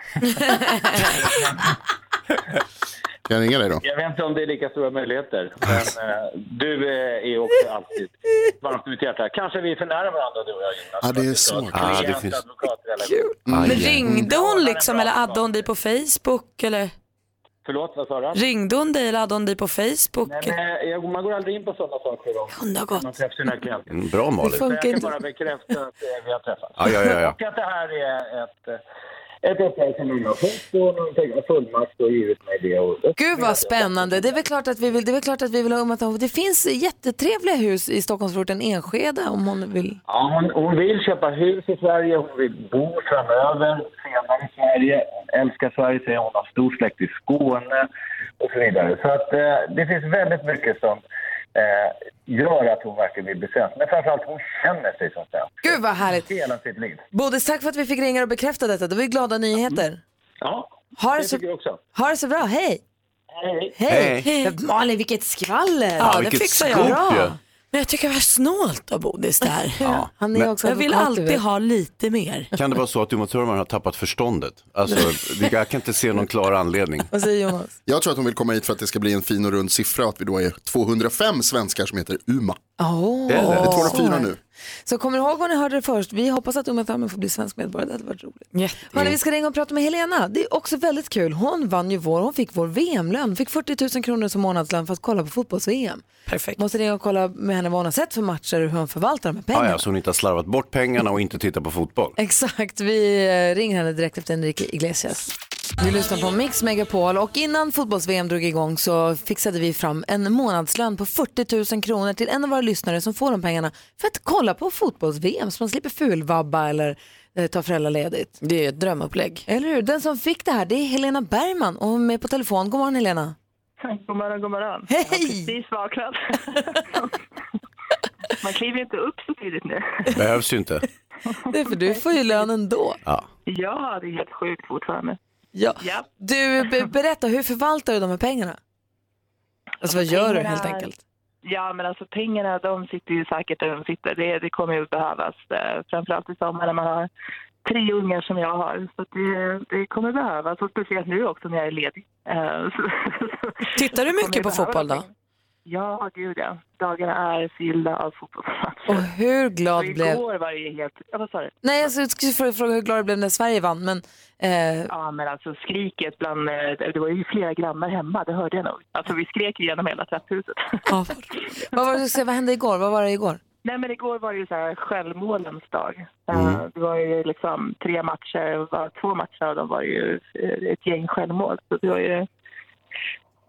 S9: Kan jag ringa dig då?
S6: Jag vet inte om det är lika stora möjligheter. Men eh, du eh, är också alltid varmt i mitt hjärta. Kanske vi är för nära varandra du och jag. Jonas.
S9: Ja, det är svårt.
S6: Ja, det finns-
S9: Mm.
S3: Men ringde hon liksom eller addade hon dig på Facebook eller?
S6: Förlåt, vad sa du?
S3: Ringde hon dig eller addade hon dig på Facebook?
S6: Nej, men eh, jag, man går aldrig in på sådana saker. Då.
S3: Kunde ha gått.
S6: Man träffar sina klienter.
S2: Mm, bra, Malin. Det
S6: Så
S2: funkar
S6: jag kan
S2: inte.
S6: bara bekräfta att eh, vi har träffats.
S2: Ja, ja, ja, ja.
S6: Och att det här är ett, eh, ett uppdrag som någon har fått och någon har fullmakt och givit mig det. Och,
S1: Gud vad spännande. Det är väl klart att vi vill, det är väl klart att vi vill ha ummat om. Det finns jättetrevliga hus i Stockholmsförorten Enskede om hon vill.
S6: Ja, hon, hon vill köpa hus i Sverige, hon vill bo framöver, senare i Sverige. Hon älskar Sverige, säger hon, har stor släkt i Skåne och så vidare. Så att, eh, det finns väldigt mycket som eh, gör att hon verkligen vill bli svensk. Men framförallt, hon känner sig som svensk.
S1: Gud vad härligt.
S6: Hela sitt liv.
S1: Bodis, tack för att vi fick ringa och bekräfta detta. Det var ju glada nyheter.
S6: Ja,
S1: Ha det
S6: det
S1: så,
S6: tycker jag också.
S1: ha det så bra, hej!
S6: Hej!
S1: Hej!
S3: Hej.
S1: Ja, Malin, vilket skvaller!
S3: Ja, det fixar jag.
S1: Bra.
S3: Men jag tycker det var snålt av Bodis där.
S2: Ja, Han är men- också
S3: jag vill
S2: advokat,
S1: du
S3: alltid
S1: vet.
S3: ha lite mer.
S2: Kan det vara så att Uma har tappat förståndet? Alltså, vi- jag kan inte se någon klar anledning.
S1: Vad säger Jonas?
S9: Jag tror att hon vill komma hit för att det ska bli en fin och rund siffra och att vi då är 205 svenskar som heter Uma.
S1: Åh.
S9: Eller? Det är
S1: Så
S9: 204
S1: är det.
S9: nu.
S1: Så kommer ni ihåg vad ni hörde det först? Vi hoppas att Uma Thurman får bli svensk medborgare, det hade varit roligt. Hörni, vi ska ringa och prata med Helena. Det är också väldigt kul. Hon vann ju vår, hon fick vår VM-lön. Fick 40 000 kronor som månadslön för att kolla på fotbolls-VM.
S3: Perfekt.
S1: Måste ringa och kolla med henne vad hon har sett för matcher och hur hon förvaltar de här pengarna.
S2: Ah, ja, så hon inte har slarvat bort pengarna och inte tittar på fotboll.
S1: Exakt, vi eh, ringer henne direkt efter Enrique Iglesias. Du lyssnar på Mix Megapol och innan fotbolls-VM drog igång så fixade vi fram en månadslön på 40 000 kronor till en av våra lyssnare som får de pengarna för att kolla på fotbolls-VM så man slipper fulvabba eller eh, ta föräldraledigt.
S3: Det är ju ett drömupplägg.
S1: Eller hur? Den som fick det här det är Helena Bergman och hon är med på telefon. God morgon Helena.
S10: God morgon, god morgon.
S1: Hej!
S10: Jag har precis vaknat. Man kliver ju inte upp så tidigt nu.
S2: Behövs ju inte.
S1: Det är för du får ju lön ändå.
S2: Ja.
S10: Ja, det är helt sjukt fortfarande.
S1: Ja. Du, be- berätta, hur förvaltar du de här pengarna? Alltså vad gör du helt
S10: Pengarna-
S1: enkelt?
S10: Ja, men alltså pengarna de sitter ju säkert där de sitter. Det, det kommer ju behövas, eh, framförallt i sommar när man har tre ungar som jag har. Så att det, det kommer behövas, och speciellt nu också när jag är ledig. Eh, så-
S3: Tittar du mycket på
S10: behöva
S3: fotboll då?
S10: Ja, gud ja. Dagarna är fyllda av fotbollsmatcher.
S1: Och hur
S10: Och
S1: glad blev...
S10: Igår var det ju helt... Ja, vad sa du?
S1: Nej, alltså, jag skulle fråga- fråga hur glad du blev när Sverige vann, men... Eh,
S10: Ja, men alltså skriket bland... eh, Det var ju flera grannar hemma, det hörde jag nog. Alltså vi skrek ju genom hela trapphuset.
S1: vad, var det, du skulle säga? vad hände igår? Vad var det igår?
S10: Nej, men igår var det ju så här självmålens dag.
S9: Mm.
S10: Eh, Det var ju liksom tre matcher, det var två matcher av dem var ju eh, ett gäng självmål. Så det var ju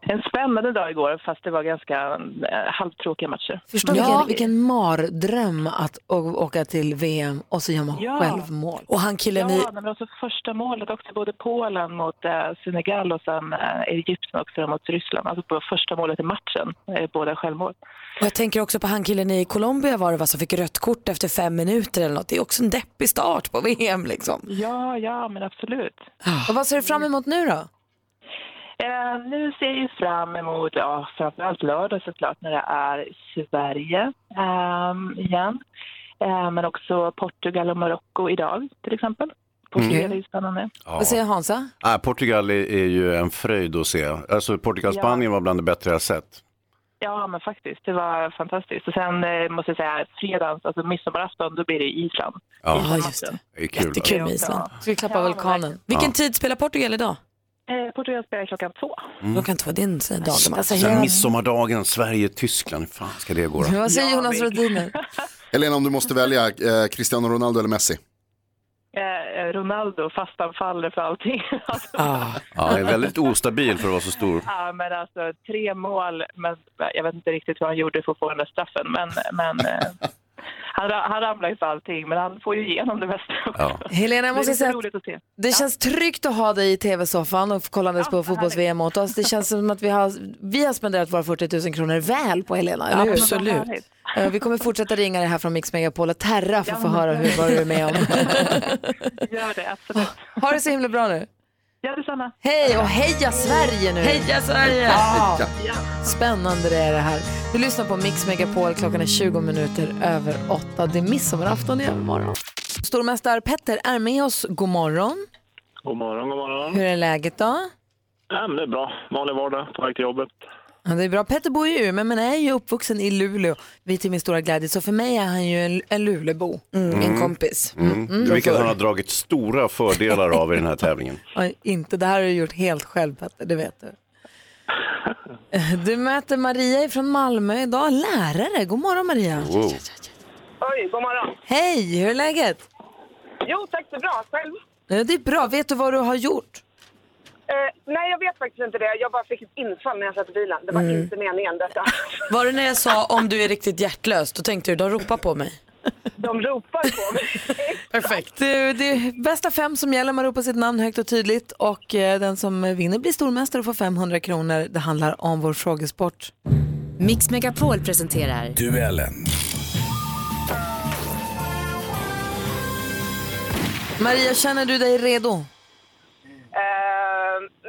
S10: en spännande dag igår, fast det var ganska eh, halvtråkiga matcher.
S1: Förstå
S10: Men-
S1: vilken, vilken mardröm att å- åka till VM och så gör man
S10: Ja.
S1: självmål.
S3: Och han killen
S10: ja,
S3: i...
S10: men också första målet också, både Polen mot eh, Senegal och sen eh, Egypten också mot Ryssland. Alltså på första målet i matchen, eh, båda självmål.
S3: Och jag tänker också på han killen i Colombia var det va, som fick rött kort efter fem minuter eller något. Det är också en deppig start på VM liksom.
S10: Ja, ja, men absolut.
S1: Och vad ser du fram emot nu då?
S10: Eh, nu ser jag ju fram emot, ja, framförallt lördag såklart, när det är Sverige ehm, igen. Eh, men också Portugal och Marocko idag, till exempel. Portugal är ju spännande.
S2: Ja.
S3: Alltså,
S2: säger
S1: Hansa?
S2: Ah, Portugal är, är ju en fröjd att se. Alltså, Portugal-Spanien var bland det bättre jag sett.
S10: Ja, men faktiskt. Det var fantastiskt. Och sen eh, måste jag säga, fredags, alltså midsommarafton, då blir det Island.
S2: Ja.
S10: Island-matchen.
S3: just det.
S2: Det är kul.
S3: Jättekul med
S2: va?
S3: Island.
S1: Ska vi klappa vulkanen?
S3: Vilken tid spelar Portugal idag?
S10: Eh, Portugal spelar klockan två.
S2: Mm.
S3: Klockan två, det är en sån dag.
S2: Sen
S3: Alltså, hela-
S2: midsommardagen, Sverige-Tyskland. Hur fan ska det gå då?
S1: Vad säger Jonas Rhodiner?
S9: Elena, om du måste välja eh, Cristiano Ronaldo eller Messi?
S10: Eh, Ronaldo, fast han faller för allting. Alltså,
S2: Ja, han är väldigt ostabil för att vara så stor.
S10: ja, men alltså, tre mål, men eh, jag vet inte riktigt vad han gjorde för att få den där straffen. Men, men, eh, han, ra- han ramlar ju för allting, men han får ju igenom det mesta.
S1: Helena, jag måste
S10: det är lite
S1: säga att
S10: roligt att se.
S1: Det känns tryggt att ha dig i tv-soffan och kollandes på fotbolls-VM åt oss. Det känns som att vi har, vi har spenderat våra 40 000 kronor väl på Helena, eller hur?
S3: Absolut.
S1: Eh, Vi kommer fortsätta ringa dig här från Mix Megapol och Terra för att få höra hur, vad du är med om.
S10: Gör det, absolut.
S1: Ha det så himla bra nu.
S10: Ja, detsamma.
S1: Hej och heja Sverige nu!
S10: Heja Sverige!
S1: Ja.
S10: Ja.
S1: Spännande det är det här. Du lyssnar på Mix Megapol, klockan är 20 minuter över 8. Det är midsommarafton i övermorgon. Stormästare Petter är med oss. God morgon.
S11: God morgon, god morgon.
S1: Hur är läget då?
S11: Ja, men det är bra. Vanlig vardag, på väg till jobbet.
S1: Ja, det är bra. Petter bor ju i Umeå men är ju uppvuxen i Luleå, vilket är min stora glädje. Så för mig är han ju en, en Lulebo, en kompis.
S2: Mm.
S1: Mm.
S2: Vilket han har dragit stora fördelar av i den här tävlingen.
S1: Oj, inte, det här har du gjort helt själv Petter, det vet du. Du möter Maria från Malmö idag, lärare. God morgon Maria.
S12: Oj, god morgon.
S1: Hej, hur är läget?
S12: Jo, tack så bra. Själv?
S1: Eh, Det är bra. Vet du vad du har gjort?
S12: Eh, nej, jag vet faktiskt inte det. Jag bara fick ett infall när jag satt i bilen. Det var
S3: Mm.
S12: inte meningen detta.
S3: Var det när jag sa om du är riktigt hjärtlös, då tänkte du de ropar på mig.
S12: De ropar på mig.
S1: Perfekt. Du, det är bästa fem som gäller. Man ropar sitt namn högt och tydligt. Och eh, den som vinner blir stormästare och får 500 kronor. Det handlar om vår frågesport.
S8: Mix Megapol presenterar
S13: Duellen.
S1: Maria, känner du dig redo?
S12: Eh,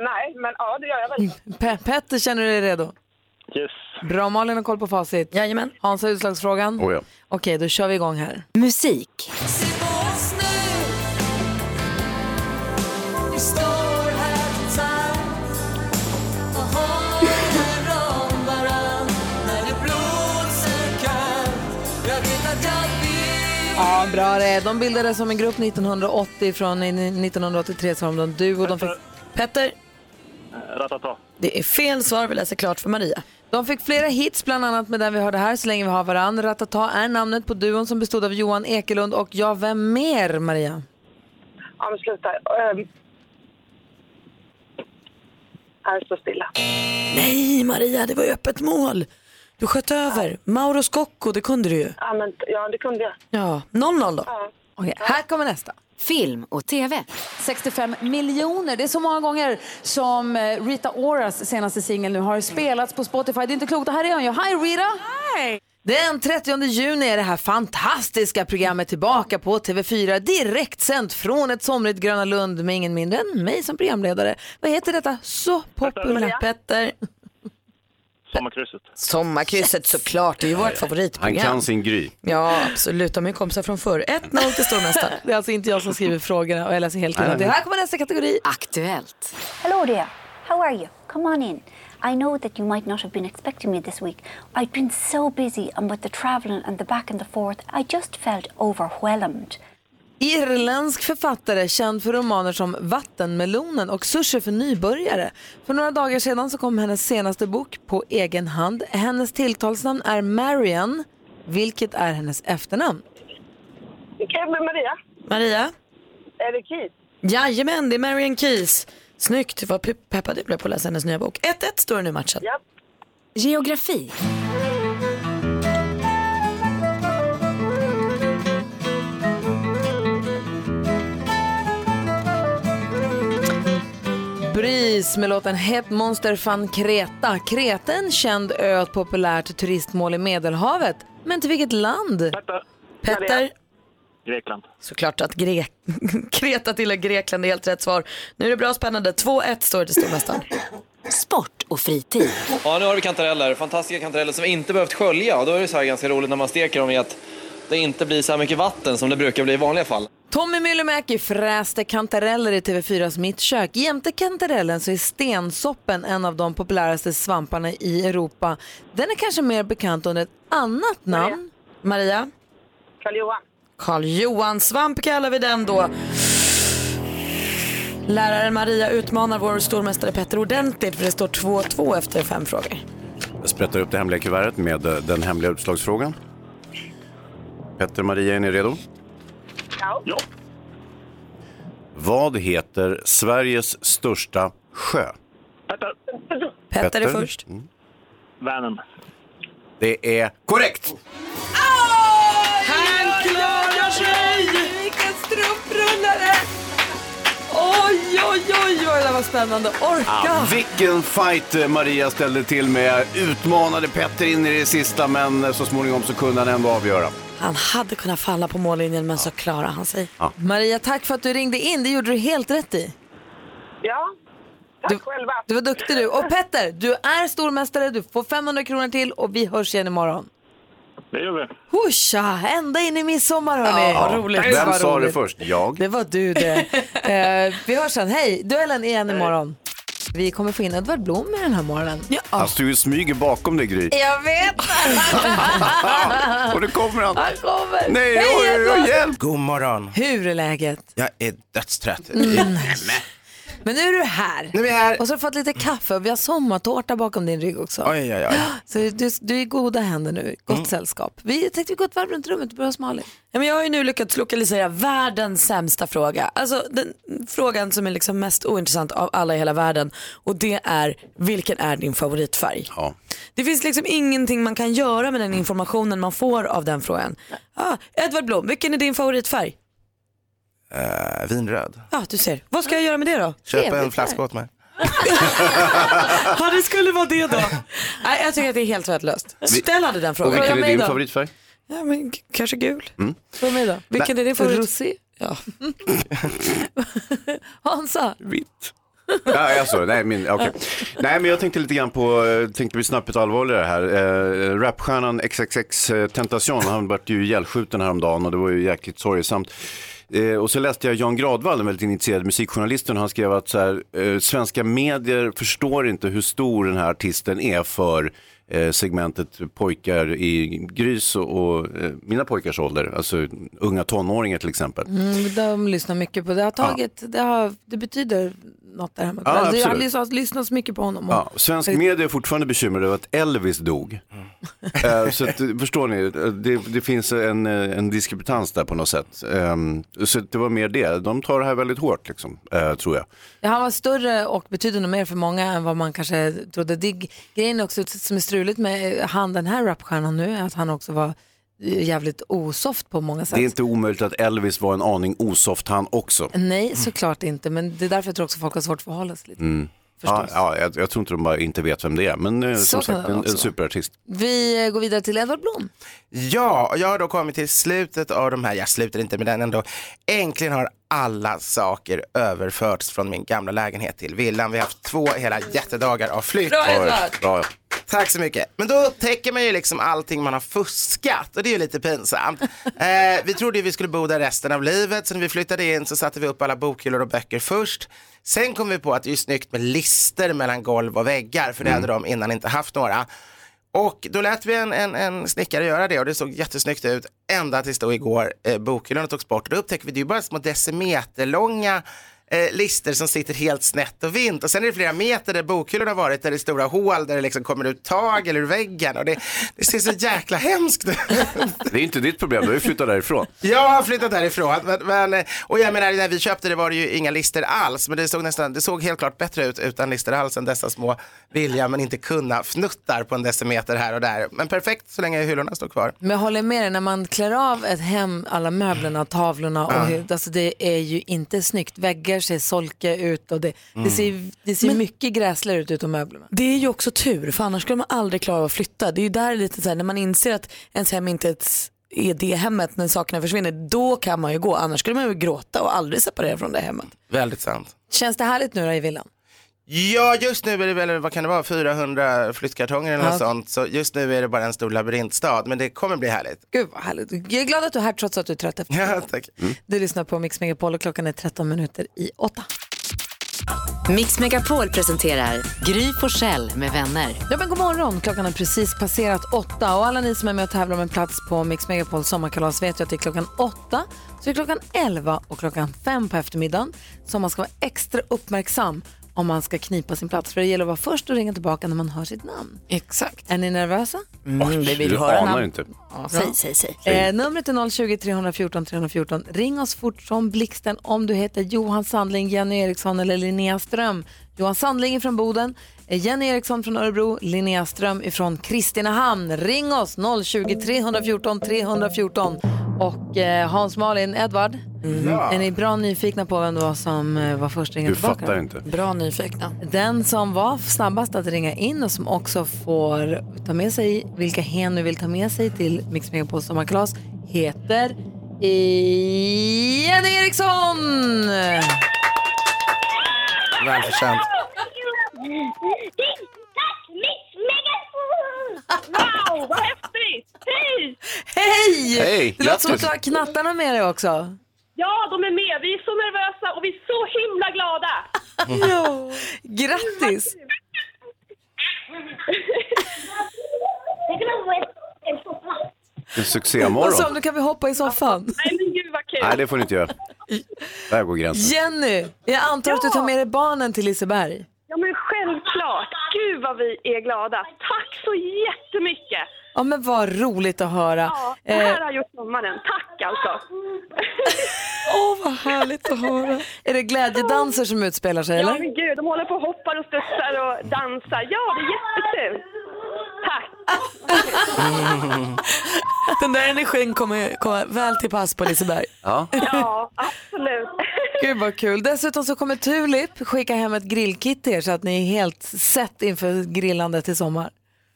S12: nej, men ja, det gör jag väl.
S1: Pe- Petter, känner du dig redo?
S11: Yes.
S1: Bra, Malin har koll på facit. Jajamän. Hans har utslagsfrågan.
S2: Oh, ja.
S1: Okej, då kör vi igång här.
S8: musik.
S5: Se på oss nu Vi står här tillsammans och håller om varann När det blåser kallt Jag vet att jag vill
S1: Ja, bra det. De bildades som en grupp 1980. Från 1983 så var de duo. De fick... Petter?
S11: Ratata.
S1: Det är fel svar, vi läser klart för Maria. De fick flera hits, bland annat med den vi hörde här, Så länge vi har varann. Ratata är namnet på duon som bestod av Johan Ekelund och ja, vem mer, Maria?
S12: Ja, men sluta. Um, här står stilla.
S3: Nej Maria, det var ju öppet mål. Du sköt över. Mauro Scocco, det kunde du ju.
S12: Ja, men, ja, det kunde jag.
S3: Ja, 0-0 då.
S1: Okej, här kommer nästa.
S8: Film och tv.
S14: 65 miljoner. Det är så många gånger som eh, Rita Oras senaste singel nu har spelats på Spotify. Det är inte klokt. Och här är hon ju. Hi Rita! Hi!
S1: Den 30 juni är det här fantastiska programmet tillbaka på TV4 direkt sänt från ett somrigt Gröna Lund med ingen mindre än mig som programledare. Vad heter detta så populära? Petter.
S11: Sommarkrysset.
S3: Sommarkrysset såklart, det är ju vårt
S2: Han
S3: favoritprogram.
S2: kan sin Gry.
S3: Ja, absolut. De är ju kompisar från förr. 1-0 till stormästaren.
S1: Det är alltså inte jag som skriver frågorna och jag läser helt
S3: Nej, nej.
S1: innantill. Här kommer nästa kategori.
S8: Aktuellt.
S15: Hello there. How are you? Come on in. I know that you might not have been expecting me this week. I've been so busy, and with the travelling and the back and the forth, I just felt overwhelmed.
S1: Irländsk författare känd för romaner som Vattenmelonen och Sushi för nybörjare. För några dagar sedan så kom hennes senaste bok på egen hand. Hennes tilltalsnamn är Marian, vilket är hennes efternamn.
S12: Okej, men Maria.
S3: Maria?
S12: Är det Keith?
S3: Jajamän, det är Marian Keys. Snyggt, vad pe- peppad du blev på att läsa hennes nya bok. 1-1 står det nu i matchen.
S8: Geografi.
S1: Bris med låten Het Monster van Kreta. Kreta är en känd ö och ett populärt turistmål i Medelhavet. Men till vilket land?
S3: Petter?
S11: Grekland.
S3: Såklart att Gre- Kreta tillhör Grekland är helt rätt svar. Nu är det bra spännande. 2-1 står det till stormästaren.
S8: Sport och fritid.
S16: Ja, nu har vi kantareller. Fantastiska kantareller som vi inte behövt skölja. Och då är det så här ganska roligt när man steker dem i att det inte blir så här mycket vatten som det brukar bli i vanliga fall.
S1: Tommy Myllymäki fräste kantareller i TV4s Mitt kök. Jämte kantarellen så är stensoppen en av de populäraste svamparna i Europa. Den är kanske mer bekant under ett annat namn.
S3: Maria?
S12: Karl-Johan.
S3: Karl Johan Svamp kallar vi den då. Läraren Maria utmanar vår stormästare Petter ordentligt för det står 2-2 efter fem frågor.
S2: Jag sprättar upp det hemliga kuvertet med eh, den hemliga utslagsfrågan. Petter och Maria, är ni redo?
S12: Ja.
S2: Vad heter Sveriges största sjö?
S3: Petter är
S2: Petter.
S3: först.
S11: Vänern.
S2: Det är korrekt!
S5: Han klarar sig!
S1: Vilken strumprullare! Oj, oj, oj vad det där var spännande.
S2: Ah,
S1: Orka!
S2: vilken fight eh, Maria ställde till med. Utmanade Petter in i det sista, men eh, så småningom så kunde han ändå avgöra.
S3: Han hade kunnat falla på mållinjen men så klarar han sig.
S2: Ja.
S1: Maria, tack för att du ringde in. Det gjorde du helt rätt i.
S12: Ja, tack själva.
S1: Du var duktig du. Och Petter, du är stormästare. Du får 500 kronor till och vi hörs igen imorgon.
S11: Det gör vi.
S1: Husha, ända in i midsommar hörni.
S2: Vem
S1: Vad
S2: sa det
S1: roligt.
S2: först? Jag?
S1: Det var du det. eh, vi hörs sen. Hej, duellen igen imorgon. Vi kommer få in Edvard Blom med den här morgonen.
S2: Han stod ju och smyger bakom dig Gry.
S1: Jag vet!
S2: Och nu kommer han.
S1: Han kommer.
S2: Nej,
S1: Hej,
S2: oj, oj, oj,
S1: Edvard.
S2: hjälp!
S13: God morgon.
S1: Hur är läget?
S13: Jag är dödstrött.
S1: Mm. Men nu är du här. Nu är vi här. Och så har du fått lite kaffe och vi har sommartårta bakom din rygg också.
S13: Oj, oj, Mm. oj.
S1: Så du, du är i goda händer nu, gott sällskap. Vi tänkte vi går ett varv runt rummet och börjar hos Malin.
S3: Ja, men jag har ju nu lyckats lokalisera världens sämsta fråga. Alltså den frågan som är liksom mest ointressant av alla i hela världen. Och det är, vilken är din favoritfärg? Det finns liksom ingenting man kan göra med den informationen man får av den frågan. Ah, Edvard Blom, vilken är din favoritfärg?
S13: Eh, vinröd.
S3: Ja, du ser. Vad ska jag göra med det då?
S13: Köp en flaska åt mig.
S3: Ja, det skulle vara det då. Nej, jag tycker att det är helt värdelöst. Ställ aldrig den frågan.
S2: Och
S3: Fråga
S2: vilken är
S3: mig
S2: din
S3: då.
S2: favoritfärg?
S3: Ja, men k- kanske gul.
S2: Mm.
S3: Fråga mig då. Vilken
S2: Nej.
S3: är din favorit?
S1: Rosé.
S3: Ja.
S1: Hansa,
S2: Ja, alltså, nej, min, okej. nej, men jag tänkte lite grann på, eh, tänkte bli snabbt allvarligare här. Eh, rapstjärnan XXX eh, Tentacion, han vart ju ihjälskjuten häromdagen och det var ju jäkligt sorgesamt. Eh, och så läste jag Jan Gradvall, en väldigt initierad musikjournalist, och han skrev att så här, eh, svenska medier förstår inte hur stor den här artisten är för eh, segmentet pojkar i Grys och, och eh, mina pojkars ålder, alltså unga tonåringar till exempel.
S1: mm, de lyssnar mycket på det. Har tagit, det, har, det betyder något där hemma.
S2: Ja,
S1: Alltså, jag har
S2: absolut.
S1: lyssnat, lyssnat så mycket på honom.
S2: Ja, svensk media är fortfarande bekymrade över att Elvis dog. Eh, så att, eh, förstår ni, eh, det, det finns en, eh, en diskrepans där på något sätt. Ehm, så att det var mer det, de tar det här väldigt hårt liksom, eh, tror jag.
S1: Ja, Han var större och betydde nog mer för många än vad man kanske trodde. Det, grejen är också som är struligt med eh, han, den här rapstjärnan nu är att han också var eh, jävligt osoft på många sätt.
S2: Det är inte omöjligt att Elvis var en aning osoft han också.
S1: Nej, såklart inte. Men det är därför jag tror också folk har svårt att förhålla sig lite. Mm.
S2: Ja, ja, jag, jag tror inte de bara inte vet vem det är, men eh,
S1: Så
S2: som
S1: kan
S2: sagt
S1: det
S2: en, en
S1: också vara.
S2: superartist.
S1: Vi eh, går vidare till Edvard Blom.
S13: Ja, jag har då kommit till slutet av de här, jag slutar inte med den ändå. Äntligen har alla saker överförts från min gamla lägenhet till villan. Vi har haft två hela jättedagar av flytt.
S2: Bra, Edvard! Oj, bra.
S13: Tack så mycket. Men då upptäcker man ju liksom allting man har fuskat och det är ju lite pinsamt. Eh, vi trodde ju vi skulle bo där resten av livet så när vi flyttade in så satte vi upp alla bokhyllor och böcker först. Sen kom vi på att det är ju snyggt med lister mellan golv och väggar för det hade de innan inte haft några. Och då lät vi en, en, en snickare göra det och det såg jättesnyggt ut ända tills då igår eh, bokhyllorna togs bort. Och då upptäckte vi att det är ju bara små decimeterlånga eh, lister som sitter helt snett och vint. Och sen är det flera meter där bokhyllorna har varit, där det är stora hål där det liksom kommer ut tagel ur väggen. Och det, det ser så jäkla hemskt ut.
S2: Det är inte ditt problem, du har ju flyttat därifrån.
S13: Jag har flyttat därifrån. Men, men, och jag menar, när vi köpte det var det ju inga lister alls. Men det såg, nästan, det såg helt klart bättre ut utan lister alls än dessa små vilja men inte kunna fnuttar på en decimeter här och där. Men perfekt så länge hyllorna står kvar.
S1: Men jag håller med dig, när man klär av ett hem, alla möblerna, tavlorna, och,
S13: Ja.
S1: hur- alltså det är ju inte snyggt. Väggar ser solka ut och det, det
S3: Mm.
S1: ser, det ser mycket gräsligare ut utom möblerna.
S3: Det är ju också tur, för annars skulle man aldrig klara av att flytta. Det är ju där lite så här, när man inser att ens hem inte ens är det hemmet när sakerna försvinner, då kan man ju gå. Annars skulle man ju gråta och aldrig separera från det hemmet.
S13: Väldigt sant.
S1: Känns det härligt nu då i villan?
S13: Ja, just nu är det väl, vad kan det vara, 400 flyttkartonger eller något
S1: Ja. alltså.
S13: sånt. Så just nu är det bara en stor labyrintstad, men det kommer bli härligt.
S1: Gud vad härligt. Jag är glad att du är här trots att du är trött efter
S13: Ja, tack.
S1: Du lyssnar på Mix Megapol och klockan är 13 minuter i 8.
S8: Mix Megapol presenterar Gry Forssell med vänner.
S1: Ja, men god morgon. Klockan har precis passerat åtta och alla ni som är med och tävlar om en plats på Mix Megapols sommarkalas vet ju att det är klockan åtta, så det är klockan elva och klockan fem på eftermiddagen som man ska vara extra uppmärksam om man ska knipa sin plats. För det gäller att vara först och ringa tillbaka när man hör sitt namn.
S3: Exakt.
S1: Är ni nervösa?
S2: Oj,
S3: Mm, vi vill
S2: du
S3: höra
S2: anar
S3: namn.
S2: inte.
S1: Ja,
S3: Säg,
S1: bra.
S3: säg, säg.
S1: Eh, numret är 020 314 314. Ring oss fort som blixten om du heter Johan Sandling, Jenny Eriksson eller Linnea Ström. Johan Sandling är från Boden, eh, Jenny Eriksson från Örebro, Linnea Ström är från Kristinehamn. Ring oss 020 314 314. Och eh, Hans Malin, Edvard,
S13: Mm.
S3: Ja.
S1: är ni bra nyfikna på vem det var som eh, var först att ringa
S2: Du
S1: tillbaka?
S2: fattar inte.
S3: Bra nyfikna.
S1: Den som var snabbast att ringa in och som också får ta med sig vilka hen nu vill ta med sig till Mix Megapols sommarkalas heter Jenny Eriksson!
S13: Välförtjänt.
S5: Tack Mix Megapol! Wow, vad häftigt! Hej!
S1: Hej!
S5: Hej,
S1: det låter som att
S5: grattis.
S1: du har knattarna med dig också.
S5: Ja, de är med. Vi är så nervösa och vi är så himla glada.
S1: Ja.
S3: Grattis!
S2: En
S3: Vad sa
S2: succémorgon.
S3: du, kan vi hoppa i soffan?
S10: Nej men gud vad kul.
S2: Nej, det får ni inte göra. Där går gränsen.
S3: Jenny, jag antar att du tar med dig barnen till Liseberg.
S10: Ja men självklart. Gud vad vi är glada. Tack så jättemycket.
S3: Ja men vad roligt att höra.
S10: Ja, det
S3: Eh,
S10: här har gjort sommaren. Tack alltså.
S3: Åh vad härligt att höra. Är det glädjedanser som utspelar sig
S10: Ja
S3: eller?
S10: men gud, de håller på och hoppar och studsar och dansar. Ja, det är jättekul. Tack.
S17: Den där energin kommer komma väl till pass på Liseberg.
S2: Ja.
S10: Ja, absolut.
S3: Gud vad kul. Dessutom så kommer Tulip skicka hem ett grillkit till er så att ni är helt sett inför grillandet i sommar.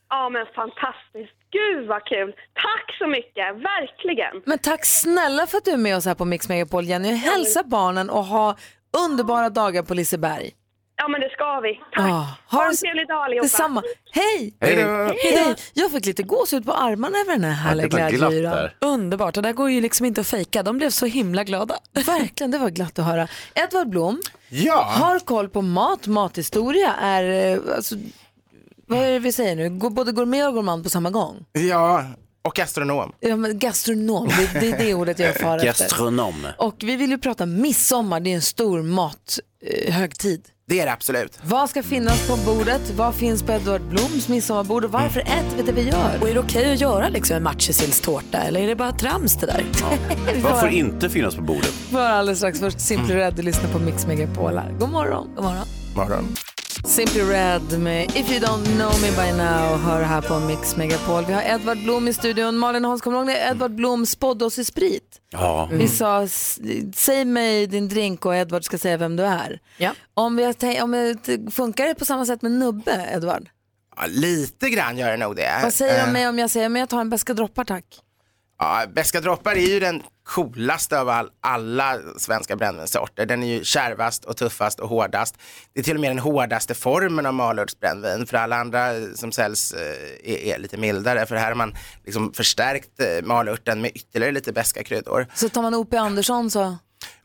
S10: Ja men fantastiskt. Gud vad kul. Tack så mycket, verkligen.
S3: Men tack snälla för att du är med oss här på Mix Megapol Jenny. Hälsa barnen och ha underbara dagar på Liseberg.
S10: Ja men det ska vi. Tack.
S3: Ja,
S10: Ha en
S3: det så-
S10: trevlig dag allihopa.
S3: Detsamma. Hej!
S2: Hej då.
S3: Hej! Jag fick lite gåshud på armarna över den här härliga
S2: det var glatt
S3: glädjeyran.
S2: där.
S3: Underbart, det där går ju liksom inte att fejka. De blev så himla glada. Verkligen, det var glatt att höra. Edvard Blom
S13: Ja.
S3: har koll på mat, mathistoria är, eh, alltså, vad är det vi säger nu, Gå- både gourmet och gourmand på samma gång.
S13: Ja, och gastronom.
S3: Ja, men gastronom, det, det är det ordet jag far efter.
S2: Gastronom.
S3: Och vi vill ju prata midsommar, det är en stor mathögtid.
S13: Det är det absolut.
S3: Vad ska finnas på bordet? Vad finns på Edvard Bloms midsommarbord? Och varför
S13: Mm.
S3: äter vi det vi gör?
S17: Och är det okej att göra liksom en matjessillstårta eller är det bara trams det där?
S3: Vi får
S2: Varför
S3: höra-
S2: inte finnas på bordet?
S3: vi får höra alldeles strax. Först Simply
S13: Mm.
S3: Red, du lyssnar på Mix Megapol här. God morgon. God morgon.
S13: Morgon.
S3: Simply Red med If You Don't Know Me By Now hör här på Mix Megapol. Vi har Edvard Blom i studion. Malin och Hans, kommer du ihåg när Edvard Blom spådde oss i sprit?
S2: Ja.
S3: Vi sa, "S- säg mig din drink och Edvard ska säga vem du är. Om vi har tänkt- om vi, funkar det på samma sätt med nubbe, Edvard?
S13: Ja, lite grann gör det nog det.
S3: Vad säger du
S13: Eh,
S3: om mig om jag säger, men jag tar en beska droppar tack?
S13: Ja, Beska droppar är ju den coolaste av all, alla svenska brännvinssorter. Den är ju kärvast och tuffast och hårdast. Det är till och med den hårdaste formen av malörtsbrännvin. För alla andra eh, som säljs eh, är, är lite mildare. För här har man liksom förstärkt eh, malörten med ytterligare lite beska kryddor.
S3: Så tar man O.P. Andersson så,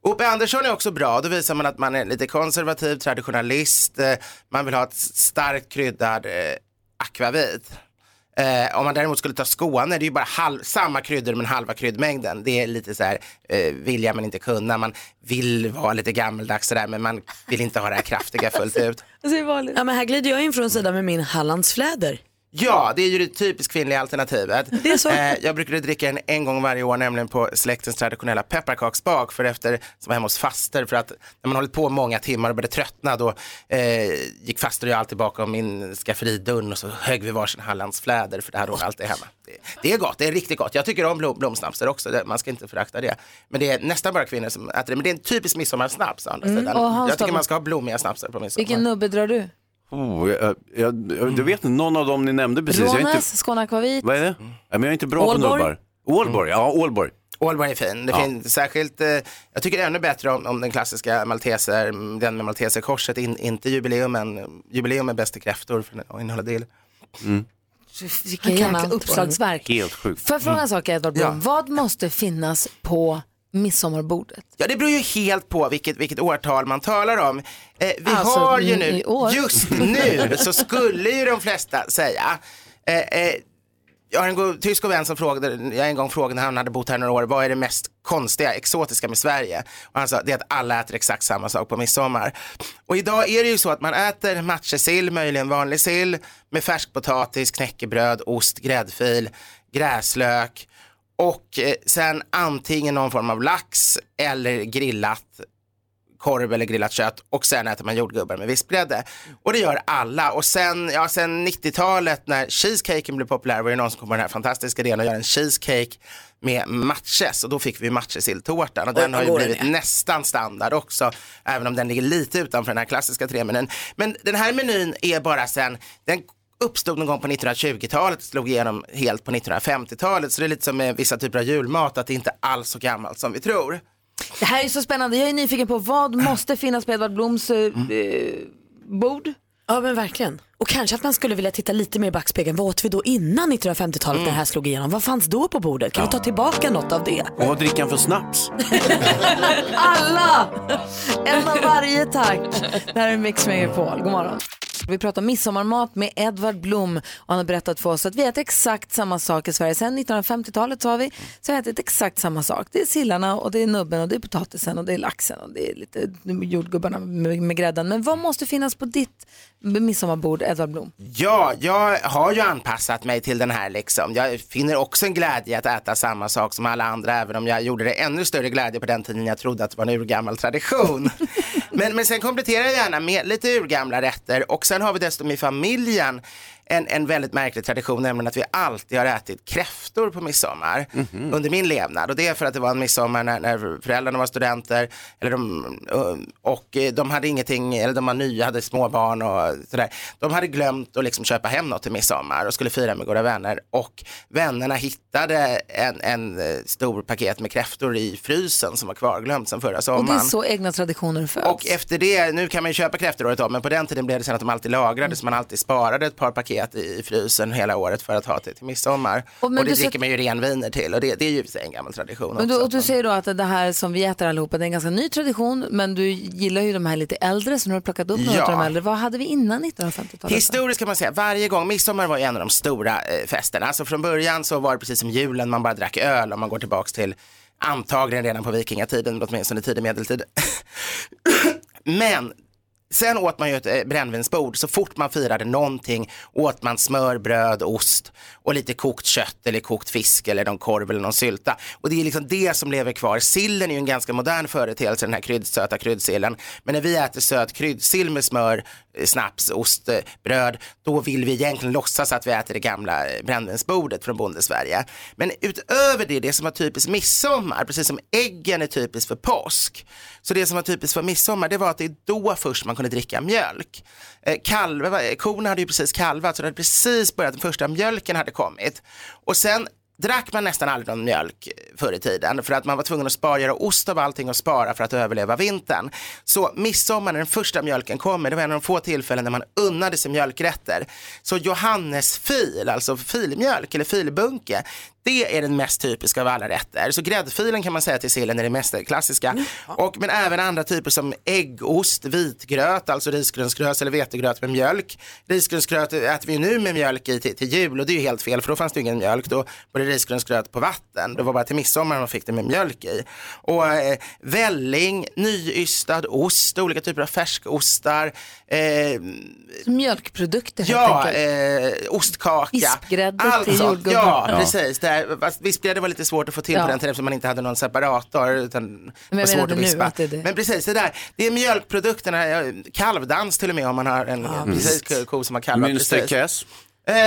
S13: O.P. Andersson är också bra. Då visar man att man är lite konservativ, traditionalist. eh, Man vill ha ett starkt kryddad eh, akvavit. Eh, om man däremot skulle ta Skåne, det är ju bara halv, samma kryddor men halva kryddmängden. Det är lite så här, eh, vilja men inte kunna. Man vill vara lite gammeldags sådär men man vill inte ha det här kraftiga fullt ut.
S17: Ja, men här glider jag in från sidan med min Hallandsfläder.
S13: Ja, det är ju det typiskt kvinnliga alternativet.
S17: Det är så.
S13: Eh, jag brukade dricka den en gång varje år, nämligen på släktens traditionella pepparkaksbak, för efter, som var hemma hos faster, för att när man hållit på många timmar och började tröttna, då eh, gick faster och jag alltid bakom min skafferidörr och så högg vi varsin Hallandsfläder, för det här låg alltid hemma. Det, det är gott, det är riktigt gott. Jag tycker om blom, blomsnapsar också, det, man ska inte förakta det. Men det är nästan bara kvinnor som äter det, men det är en typisk midsommarsnaps å andra
S3: Mm,
S13: sidan.
S3: och Hans
S13: jag tycker
S3: då?
S13: man ska ha blommiga snapsar på midsommar.
S3: vilken nubbe drar du?
S2: Oh, jag, jag, jag, du vet inte, någon av dem ni nämnde precis. Jag är inte,
S3: Rånäs, Skåne Akvavit.
S2: vad är det? Nej, men jag är inte bra på
S3: Ålborg?
S2: nubbar. Ålborg, ja Ålborg.
S13: Ålborg är fin. Det
S2: Ja.
S13: finns särskilt, eh, jag tycker det är ännu bättre om, om den klassiska malteser, mm, den med malteserkorset, in, inte jubileumen. Jubileum är bäst i kräftor för den innehåller dill.
S3: Vilken jäkla uppslagsverk.
S2: Helt sjukt.
S3: Får jag fråga en sak Edvard Blom? Vad måste finnas på midsommarbordet?
S13: Ja, det beror ju helt på vilket, vilket årtal man talar om. Eh, vi
S3: Alltså,
S13: har ju
S3: mm,
S13: nu,
S3: i år.
S13: just nu så skulle ju de flesta säga, eh, eh, jag har en god, tysk och vän som frågade, jag en gång frågade när han hade bott här några år, vad är det mest konstiga, exotiska med Sverige? Och han sa, det är att alla äter exakt samma sak på midsommar. Och idag är det ju så att man äter matjessill, möjligen vanlig sill, med färskpotatis, knäckebröd, ost, gräddfil, gräslök och eh, sen antingen någon form av lax eller grillat korv eller grillat kött och sen äter man jordgubbar med vispgrädde. Och det gör alla. Och sen, ja, sen 90-talet när cheesecaken blev populär var det någon som kom på den här fantastiska idén att göra en cheesecake med matches och då fick vi matchesilltårtan och
S17: Oj,
S13: den har ju
S17: vad går den
S13: blivit
S17: är.
S13: nästan standard också även om den ligger lite utanför den här klassiska tremenyn. Men den här menyn är bara sen, den uppstod någon gång på 1920-talet, slog igenom helt på 1950-talet så det är lite som med vissa typer av julmat att det inte alls så gammalt som vi tror.
S3: Det
S13: Mm.
S3: här är så spännande. Jag är nyfiken på vad måste finnas på Edvard Bloms eh, eh, bord? Ja men verkligen. Och kanske att man skulle vilja titta lite mer i backspegeln. Vad åt vi då innan 1950-talet när det här slog igenom? Vad fanns då på bordet? Kan vi ta tillbaka något av det?
S2: Och vad dricker han för snaps?
S1: Alla! En av varje tack. Det här är Mix Megapol. God morgon. Vi pratar midsommarmat med Edvard Blom och han har berättat för oss att vi äter exakt samma sak i Sverige. Sen 1950-talet så har vi, så har vi ätit exakt samma sak. Det är sillarna och det är nubben och det är potatisen och det är laxen och det är lite jordgubbarna med, med grädden. Men vad måste finnas på ditt midsommarbord, Edvard Blom?
S13: Ja, jag har ju anpassat mig till den här liksom. Jag finner också en glädje i att äta samma sak som alla andra, även om jag gjorde det ännu större glädje på den tiden jag trodde att det var en urgammal tradition. men, men sen kompletterar jag gärna med lite urgamla rätter och sen har vi dessutom i familjen en, en väldigt märklig tradition, nämligen att vi alltid har ätit kräftor på midsommar under min levnad. Och det är för att det var en midsommar när, när föräldrarna var studenter eller de, och eh, de hade ingenting, eller de var nya, hade småbarn och sådär. De hade glömt att liksom köpa hem något till midsommar och skulle fira med goda vänner. Och vännerna hittade en, en eh, stor paket med kräftor i frysen som var kvarglömt sedan förra
S1: Och det är
S13: sommaren.
S1: så egna traditioner föds.
S13: Och efter det, nu kan man ju köpa kräftor året om, men på den tiden blev det sen att de alltid lagrades, så man alltid sparade ett par paket i i frysen hela året för att ha till, till midsommar.
S1: Och
S13: Och,
S1: men
S13: det
S1: du sa-
S13: dricker man ju renviner till och det, det är ju i och för sig en gammal tradition
S1: Men du,
S13: också.
S1: och du säger då att det här som vi äter allihopa det är en ganska ny tradition men du gillar ju de här lite äldre så nu har du plockat upp några
S13: Ja.
S1: av de äldre. Vad hade vi innan 1950-talet?
S13: Historiskt kan man säga, varje gång, midsommar var ju en av de stora eh, festerna. Alltså från början så var det precis som julen, man bara drack öl om man går tillbaks till antagligen redan på vikingatiden, eller åtminstone tidig medeltid. Men sen åt man ju ett eh, brännvinsbord, så fort man firade någonting åt man smör, bröd, ost och lite kokt kött eller kokt fisk eller någon korv eller någon sylta. Och det är liksom det som lever kvar. Sillen är ju en ganska modern företeelse, den här kryddsöta kryddsillen. Men när vi äter söt kryddsill med smör, eh, snaps, ost, eh, bröd, då vill vi egentligen låtsas att vi äter det gamla eh, brännvinsbordet från Bondesverige. Men utöver det, det som var typiskt midsommar, precis som äggen är typiskt för påsk, så det som var typiskt för midsommar, det var att det är då först man kunde dricka mjölk. Eh, Kalva, eh, korna hade ju precis kalvat, så det hade precis börjat, den första mjölken hade kommit. Och sen drack man nästan aldrig någon mjölk eh, förr i tiden för att man var tvungen att spara, göra ost av allting och spara för att överleva vintern. Så midsommar när den första mjölken kommer, det var en av de få tillfällen när man unnade sig mjölkrätter. Så Johannesfil, alltså filmjölk eller filbunke, det är den mest typiska av alla rätter. Så gräddfilen kan man säga till sillen är det mest klassiska. Och, men även andra typer som äggost, vitgröt, alltså risgrynsgröt eller vetegröt med mjölk. Risgrynsgröt äter vi ju nu med mjölk i till, till jul och det är ju helt fel för då fanns det ju ingen mjölk. Då var det risgrynsgröt på vatten. Det var bara till midsommar man fick det med mjölk i. Och eh, välling, nyyystad ost, olika typer av färskostar. Eh,
S1: Mjölkprodukter helt
S13: Ja,
S1: enkelt.
S13: eh, ostkaka.
S1: Vispgrädde
S13: allt
S1: till
S13: sånt.
S1: jordgubbar.
S13: Ja,
S1: Ja.
S13: precis. Det här, fast vispgrädde var lite svårt att få till
S1: Ja.
S13: på den tiden eftersom man inte hade någon separator. Utan
S1: jag
S13: var svårt
S1: menade
S13: att
S1: nu
S13: vispa.
S1: att det är det.
S13: Men precis, det där. Det är mjölkprodukterna, eh, kalvdans till och med om man har en eh, precis, ko som har kalvat. precis.
S2: Münsterkäs.
S13: Eh,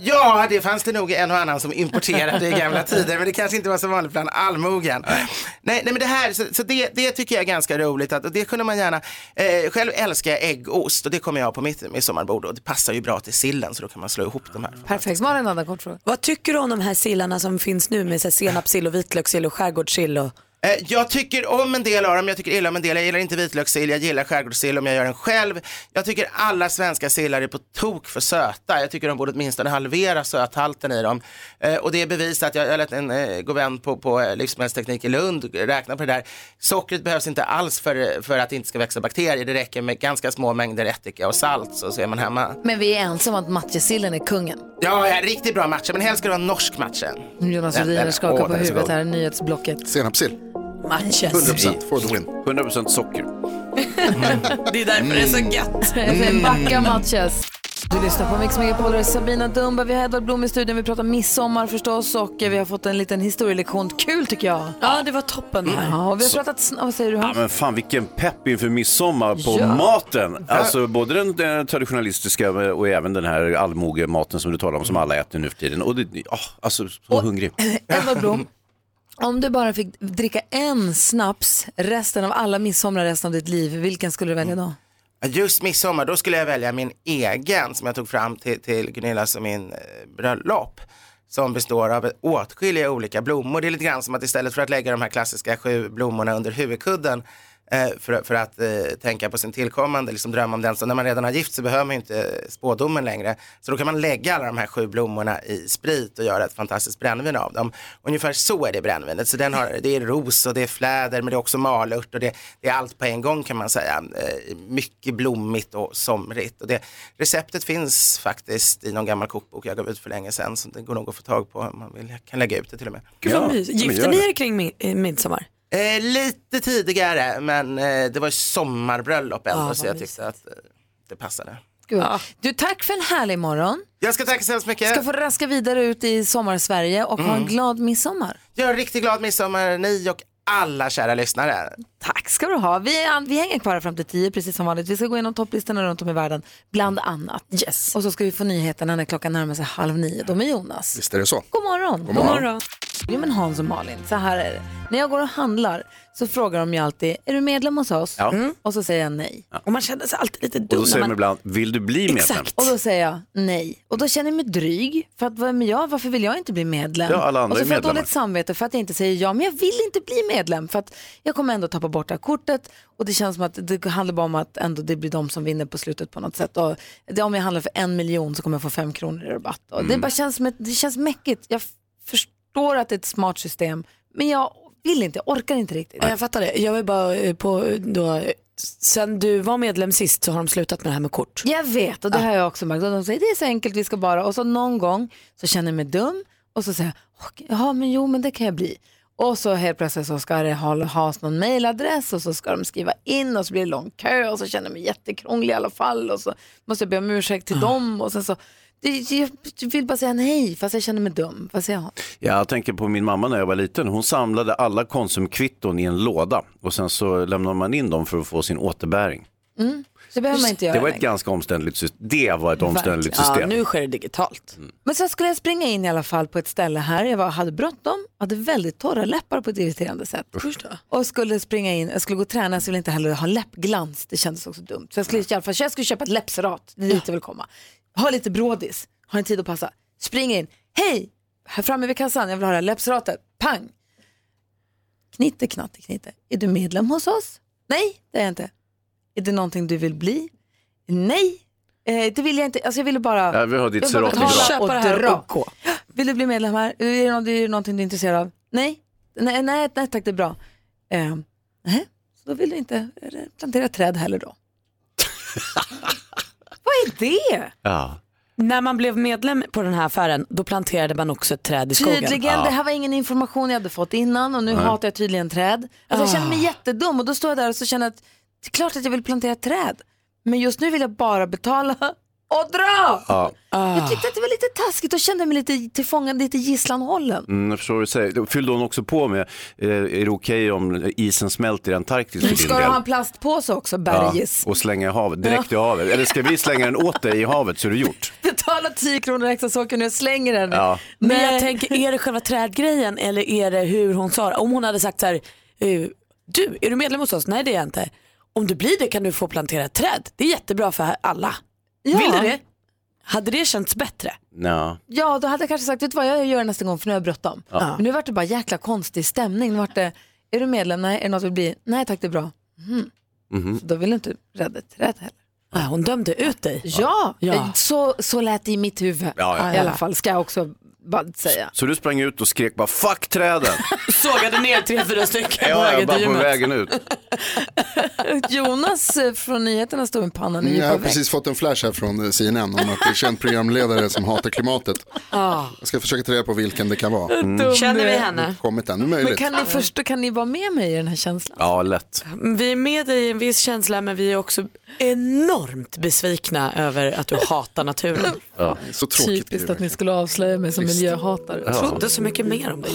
S13: ja, det fanns det nog en och annan som importerade i gamla tider, men det kanske inte var så vanligt bland allmogen. Nej, nej men det här, så, så det, det tycker jag är ganska roligt att, och det kunde man gärna, eh, själv älskar jag äggost och det kommer jag ha på mitt midsommarbord och det passar ju bra till sillen så då kan man slå ihop de här.
S1: Perfekt, Malin hade en kort fråga.
S3: Vad tycker du om de här sillarna som finns nu med så här senapssill och vitlökssill och skärgårdssill? Och...
S13: Eh, Jag tycker om en del av dem, jag tycker illa om en del. Jag gillar inte vitlökssill, jag gillar skärgårdssill om jag gör den själv. Jag tycker alla svenska sillar är på tok för söta. Jag tycker de borde åtminstone halvera söthalten i dem. Eh, Och det är bevisat, jag jag lät en eh, god vän på, på eh, livsmedelsteknik i Lund räkna på det där. Sockret behövs inte alls för, för att det inte ska växa bakterier. Det räcker med ganska små mängder ättika och salt så, så är man hemma.
S1: Men vi är ensamma om att matjessillen är kungen.
S13: Ja, ja, riktigt bra matcha, men helst ska det vara norsk matcha.
S1: Jonas
S13: Den-
S1: Rhodiner
S13: den-
S1: skakar
S13: åh,
S1: på
S13: den är så
S1: huvudet
S13: god.
S1: här, nyhetsblocket.
S9: Senapssill.
S3: Matches.
S9: 100% for the win.
S2: 100% socker.
S3: Det är därför det är så gött.
S1: Mm. Backa matches. Du lyssnar på Mix Megapol, det är Sabina Dumba, vi har Edvard Blom i studion, vi pratar midsommar förstås och eh, vi har fått en liten historielektion. Kul tycker jag.
S3: Ja, det var toppen det här.
S1: Ja, och vi har pratat, sn- vad säger du
S2: Ja,
S1: Hans?
S2: men fan vilken pepp inför midsommar på
S1: Ja.
S2: maten. Alltså både den, den traditionalistiska och även den här allmogematen som du talar om som alla äter nu för tiden. Och det, ah, alltså så hungrig.
S1: Edvard Blom, om du bara fick dricka en snaps resten av alla midsommar resten av ditt liv, vilken skulle du välja
S3: Mm.
S1: då?
S13: Just midsommar, då skulle jag välja min egen som jag tog fram till, till Gunillas och min eh, bröllop. Som består av åtskilliga olika blommor. Det är lite grann som att istället för att lägga de här klassiska sju blommorna under huvudkudden eh, för, för att eh, tänka på sin tillkommande, liksom drömma om den. Så när man redan har gift sig behöver man ju inte spådomen längre. Så då kan man lägga alla de här sju blommorna i sprit och göra ett fantastiskt brännvin av dem. Ungefär så är det brännvinet. Så den har, det är ros och det är fläder men det är också malört och det, det är allt på en gång kan man säga. Eh, mycket blommigt och somrigt. Och det, receptet finns faktiskt i någon gammal kokbok jag gav ut för länge sedan. Så det går nog att få tag på om man vill. Jag kan lägga ut det till och med.
S3: Gud vad mysigt. Gifter ni er kring mi- eh, midsommar?
S13: Eh, lite tidigare, men eh, det var ju sommarbröllop ändå
S3: Ah, vad
S13: så jag
S3: mysigt.
S13: tyckte att eh, det passade.
S1: Gud. Du, tack för en härlig morgon.
S13: Jag ska tacka så hemskt mycket.
S1: Ska få raska vidare ut i sommarsverige och ha en
S13: Mm.
S1: glad midsommar.
S13: Jag är riktigt glad midsommar, ni och alla kära lyssnare.
S1: Tack ska du ha. Vi, är, vi hänger kvar här fram till tio precis som vanligt. Vi ska gå igenom topplistorna runt om i världen, bland annat. Yes. Och så ska vi få nyheterna när klockan närmar sig halv nio. De är Jonas.
S9: Visst är det så.
S1: God morgon.
S9: God morgon. God morgon.
S1: Jo men Hans och Malin, så här är det. När jag går och handlar så frågar de ju alltid, är du medlem hos oss?
S2: Ja.
S1: Mm. Och så säger jag nej.
S3: Och man känner sig alltid lite
S2: Och då säger man ibland, vill du bli medlem?
S1: Och då säger jag nej. Och då känner jag mig dryg. För att vad är jag? Varför vill jag inte bli medlem?
S2: Ja, alla andra
S1: och så
S2: är
S1: får jag
S2: medlemmar.
S1: dåligt samvete för att jag inte säger ja. Men jag vill inte bli medlem. För att jag kommer ändå tappa bort det här kortet. Och det känns som att det handlar bara om att ändå det blir de som vinner på slutet på något sätt. Och det, om jag handlar för en miljon så kommer jag få fem kronor i rabatt. Och Det
S5: Mm.
S1: bara känns som ett, det känns mäckigt. Jag f- förstår att det är ett smart system. Men jag vill inte, jag orkar inte riktigt.
S3: Ja, jag fattar det. Jag vill bara eh, på eh, då, eh, sen du var medlem sist så har de slutat med det här med kort.
S1: Jag vet och det har jag också märkt. Och de säger det är så enkelt, vi ska bara. Och så någon gång så känner jag mig dum och så säger jag, "Okej, jaha men jo men det kan jag bli. Och så helt plötsligt så ska det ha, has någon mailadress och så ska de skriva in och så blir det lång kö och så känner jag mig jättekrånglig i alla fall och så måste jag be om ursäkt till dem och sen så, det, jag vill bara säga nej fast jag känner mig dum. Fast jag,
S2: Jag tänker på min mamma när jag var liten. Hon samlade alla Konsumkvitton i en låda och sen så lämnade man in dem för att få sin återbäring.
S1: mm, så behöver man inte göra
S2: Det var ett
S1: längre.
S2: ganska omständligt system. Det var ett omständligt
S1: Verkligen.
S2: system.
S1: Ja,
S3: Nu sker det digitalt.
S1: Men sen skulle jag springa in i alla fall på ett ställe här. Jag var, hade bråttom, hade väldigt torra läppar på ett irriterande sätt. Och skulle springa in, jag skulle gå och träna så jag ville inte heller ha läppglans. Det kändes också dumt. Så jag skulle i alla fall jag skulle köpa ett läppserat, det är dit jag vill komma. Ha lite brådis, har en tid att passa. Springer in, hej! Här framme vid kassan, jag vill ha det här läppseratet. Pang! Knitte, knatte, knitte. Är du medlem hos oss? Nej, det är jag inte. Är det någonting du vill bli? Nej, eh, det vill jag inte. Alltså jag ville bara...
S2: Ja, vi har ditt
S1: jag ville bara
S2: serat
S1: betala
S2: idag.
S1: och
S2: Köpa det här och
S1: dra. Vill du bli medlem här? Är det, något, är det någonting du är intresserad av? Nej, nej, nej, nej tack det är bra. Eh, nej, så då vill du inte eh, plantera träd heller då. Vad är det?
S2: Ja.
S3: När man blev medlem på den här affären då planterade man också ett träd i skogen.
S1: Tydligen, det här var ingen information jag hade fått innan och nu
S3: Nej.
S1: hatar jag tydligen träd. Alltså, jag känner mig
S3: Ah.
S1: jättedum och då står jag där och så känner jag att det är klart att jag vill plantera träd. Men just nu vill jag bara betala och dra.
S2: Ja.
S3: Ah.
S1: Jag tyckte att det var lite taskigt och kände mig lite tillfångad, lite gisslanhållen.
S2: Mm, jag förstår vad du säger. Fyllde hon också på med, eh, är det okej om isen smälter i Antarktis för din
S1: Ska du ha
S2: del?
S1: en plastpåse också, Bergis?
S2: och slänga i havet, direkt i havet. Eller ska vi slänga den åt dig i havet så är det gjort.
S1: Betala 10 kronor extra så kan jag slänger den.
S2: Ja.
S3: Men jag tänker, är det själva trädgrejen eller är det hur hon sa det? Om hon hade sagt så här, eh, du, är du medlem hos oss? Nej det är jag inte. Om du blir det kan du få plantera ett träd. Det är jättebra för alla. Vill du det? Hade det känts bättre?
S2: Nå.
S1: Ja, då hade jag kanske sagt, vet du vad jag gör nästa gång för nu har jag bråttom.
S2: Ja.
S1: Men nu vart det bara jäkla konstig stämning. Nu vart det, är du medlem? Nej, är det något du vill bli? Nej tack, det är bra. Mhm.
S2: Mhm.
S1: Så då vill du inte rädda ett träd heller.
S3: Nej, Ah, hon dömde ut dig.
S1: Ja,
S3: Ja.
S1: Så, så lät det i mitt huvud
S2: Ja, ja.
S1: i alla fall, ska jag också bara säga.
S2: Så du sprang ut och skrek bara fuck träden.
S3: Sågade ner tre, fyra stycken på
S2: Ja, jag
S3: vägen
S2: bara
S3: till
S2: på
S3: gymmet.
S2: vägen ut.
S1: Jonas eh, från nyheterna står med pannan i
S9: Mm, Jag har
S1: djupa vägg.
S9: precis fått en flash här från eh, CNN om att det är känd programledare som hatar klimatet.
S1: Ja.
S9: Jag ska försöka ta reda på vilken det kan vara.
S2: Mm.
S1: Dum Känner vi du är. henne?
S9: Det har inte kommit än,
S1: Men
S9: möjligt.
S1: kan ni, förstå, kan ni vara med mig i den här känslan?
S2: Ja, lätt.
S3: Vi är med dig i en viss känsla men vi är också enormt besvikna över att du hatar naturen.
S9: Så
S1: Typiskt att ni skulle avslöja mig som miljöhatare.
S3: Jag trodde så mycket mer om dig.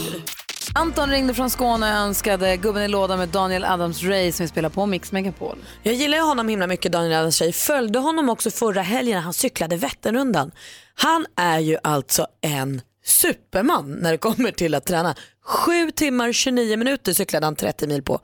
S1: Anton ringde från Skåne och önskade Gubben i lådan med Daniel Adams-Ray som vi spelar på Mix Megapol.
S3: Jag gillar ju honom himla mycket, Daniel Adams tjej. Följde honom också förra helgen när han cyklade Vätternrundan. Han är ju alltså en superman när det kommer till att träna. 7 timmar 29 minuter cyklade han 30 mil på.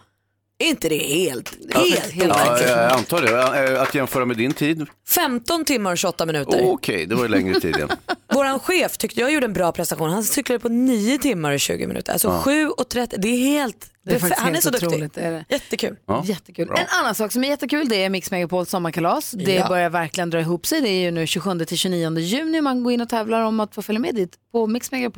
S3: Är inte det helt, helt, helt
S2: Ja,
S3: overkligt?
S2: jag antar det. Eh, Att jämföra med din tid.
S3: 15 timmar och 28 minuter.
S2: Okej, det var ju längre tid igen.
S3: Våran chef tyckte jag gjorde en bra prestation. Han cyklade på 9 timmar och 20 minuter. Alltså
S2: Ja.
S3: 7 och 30, det är helt
S1: Det är faktiskt
S3: han är
S1: helt
S3: så duktig.
S1: otroligt, är det.
S3: Jättekul.
S1: Ja, Jättekul.
S3: bra.
S1: En annan sak som är jättekul det är Mix Megapols sommarkalas. Det
S3: Ja.
S1: börjar verkligen dra ihop sig. Det är ju nu 27-29 juni man går in och tävlar om att få följa med dit på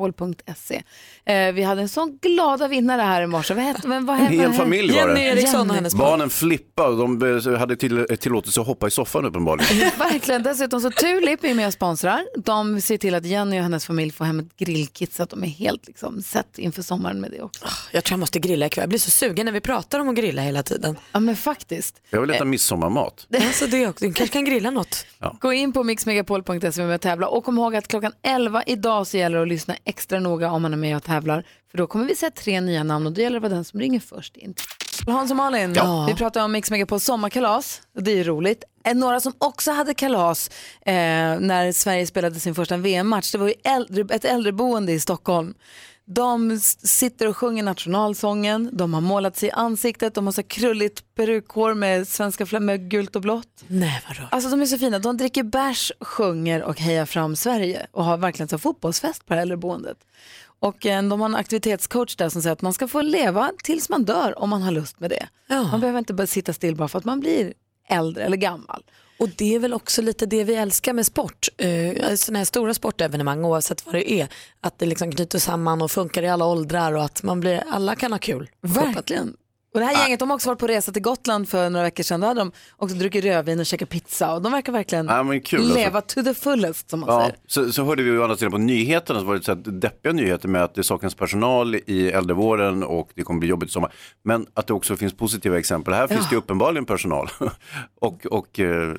S1: mixmegapol.se. Eh, vi hade en sån glada vinnare här i morse. Vad hette men vad
S2: En
S1: hette-
S2: hel
S1: vad
S2: familj var det.
S1: Jenny.
S2: Barnen flippade och de eh, hade till, eh, tillåtelse att hoppa i soffan uppenbarligen.
S1: Verkligen. Dessutom så Tulip är med och sponsrar. De ser till att Jenny och hennes familj får hem ett grillkit så att de är helt liksom, sett inför sommaren med det också.
S3: Jag tror jag måste grilla ikväll. Jag blir så sugen när vi pratar om att grilla hela tiden.
S1: Ja men faktiskt.
S2: Jag vill äta midsommarmat.
S3: Alltså det också. Du kanske kan grilla något.
S1: Gå in på mixmegapol.se och tävla och kom ihåg att klockan 11 idag så gäller det att lyssna extra noga om man är med och tävlar för då kommer vi se tre nya namn och då gäller det att vara den som ringer först in. Hans och Malin,
S3: Ja.
S1: vi pratar om Mix Megapols sommarkalas och det är ju roligt. Eh, Några som också hade kalas eh, när Sverige spelade sin första VM-match, det var ju äldre, ett äldreboende i Stockholm. De s- sitter och sjunger nationalsången, de har målat sig i ansiktet, de har så här krulligt perukhår med svenska fla- med gult och blått.
S3: Nej, vad
S1: Alltså de är så fina. De dricker bärs, sjunger och hejar fram Sverige och har verkligen så fotbollsfest på det här äldreboendet. Och eh, de har en aktivitetscoach där som säger att man ska få leva tills man dör om man har lust med det. Man behöver inte bara sitta still bara för att man blir äldre eller gammal.
S3: Och det är väl också lite det vi älskar med sport, eh, sådana här stora sportevenemang oavsett vad det är. Att det liksom knyter samman och funkar i alla åldrar och att man blir, alla kan ha kul.
S1: Verkligen. Och det
S2: Ah.
S1: här gänget de har också varit på resa till Gotland för några veckor sedan. Då hade de också druckit rödvin och käkat pizza och de verkar verkligen
S2: Ja, men kul, alltså.
S1: leva to the fullest som man
S2: Ja,
S1: säger.
S2: så, så hörde vi ju å andra sidan på nyheterna så var det så här deppiga nyheter med att det saknas personal i äldrevården och det kommer bli jobbigt i sommar. Men att det också finns positiva exempel. Här finns det ju uppenbarligen personal och, och eh,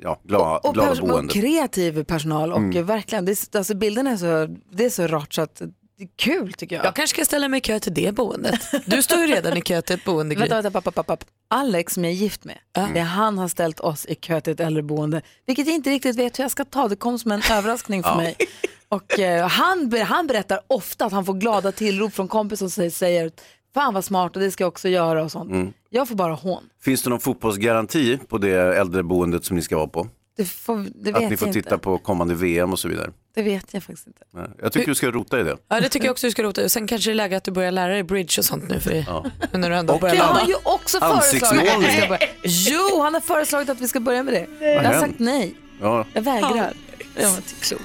S2: ja, glada,
S1: Och,
S2: glada
S1: pers- och
S2: boende.
S1: kreativ personal och
S2: Mm.
S1: eh, verkligen, det är, alltså bilderna är så, det är så rart så att det är kul tycker jag.
S3: Jag kanske ska ställa mig i kö till det boendet. Du står ju redan i kö till ett boende. Gry.
S1: Vänta, vänta, papp, papp, papp. Alex som jag är gift med,
S2: Mm.
S1: det är han har ställt oss i kö till ett äldreboende, vilket jag inte riktigt vet hur jag ska ta. Det kom som en överraskning för
S3: Ja.
S1: mig. Och eh, han, ber- han berättar ofta att han får glada tillrop från kompisar som säger, säger fan vad smart och det ska jag också göra och sånt.
S2: Mm.
S1: Jag får bara hån.
S2: Finns det någon fotbollsgaranti på det äldreboendet som ni ska vara på?
S1: Det, får, det vet
S2: Att ni får
S1: jag
S2: titta
S1: inte.
S2: på kommande VM och så vidare.
S1: Det vet jag faktiskt inte.
S2: Nej, Jag tycker du ska rota i det.
S3: Ja, det tycker jag också du ska rota i. Sen kanske det är läge att du börjar lära dig bridge och sånt nu. För
S2: Ja.
S3: när du ändå
S2: Och-
S3: börjar
S2: Det har
S3: ladda.
S2: ju
S1: också föreslagit att vi
S2: Ansiktsmålning.
S1: ska börja. Jo, han har föreslagit att vi ska börja med det. Jag har
S2: Vad
S1: sagt nej.
S2: Ja.
S1: Jag vägrar. Jag var inte
S3: typ
S1: klok.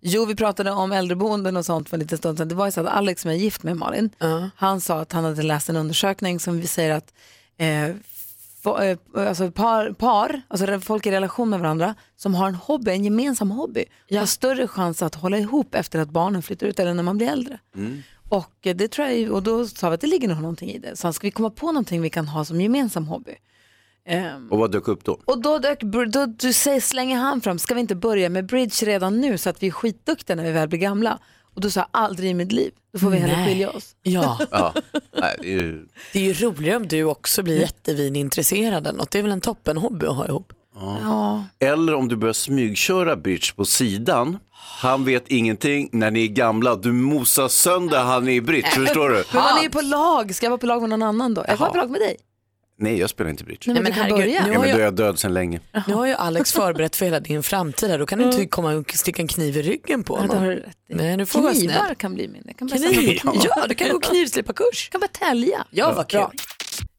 S1: Jo, vi pratade om äldreboenden och sånt för en liten stund sedan. Det var ju så att Alex som är gift med Malin, han sa att han hade läst en undersökning som vi säger att eh, fo- eh, alltså par, par, alltså re- folk i relation med varandra som har en hobby, en gemensam hobby, har större chans att hålla ihop efter att barnen flyttar ut eller när man blir äldre.
S2: Mm.
S1: Och, eh, det tror jag, ju- och då sa vi att det ligger nog någonting i det. Så han, ska vi komma på någonting vi kan ha som gemensam hobby? Ehm,
S2: Och vad dök upp då?
S1: och då, dök, då du säger, slänger han fram, ska vi inte börja med bridge redan nu så att vi är skitduktiga när vi väl blir gamla? Och då sa jag aldrig i mitt liv, då får vi hellre
S3: Nej.
S1: skilja oss.
S3: Ja.
S2: Ja. Nej, det är ju-
S3: Det är ju roligare om du också
S1: Mm.
S3: blir jättevinintresserad eller något. Det är väl en toppen hobby att ha ihop.
S1: Ja.
S2: Eller om du börjar smygköra bitch på sidan. Han vet ingenting när ni är gamla. Du mosar sönder han i bridge, förstår du?
S1: Men man är ju på lag, ska jag vara på lag med någon annan då? Jag var på lag med dig.
S2: Nej, jag spelar inte bridge.
S1: Nej, men Nej, men du kan herregud, börja. nu
S2: Ja,
S1: har
S2: men då
S1: jag-
S2: är jag död sedan länge.
S3: Nu har ju Alex förberett för hela din framtid här. Då kan du inte komma och sticka en kniv i ryggen på honom.
S1: det har du rätt
S3: Nej, du får vara
S1: Knivar
S3: snäll.
S1: kan bli min. Jag kan börja samla
S3: Kniv?
S1: på knivar.
S3: Ja, du kan gå knivslipparkurs.
S1: kan bara tälja.
S3: Ja, vad kul.
S1: Bra.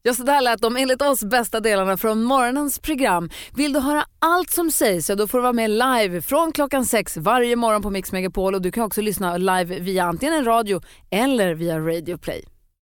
S18: Ja, så där lät de enligt oss bästa delarna från morgonens program. Vill du höra allt som sägs så då får du vara med live från klockan sex varje morgon på Mix Megapol och du kan också lyssna live via antingen en radio eller via Radio Play.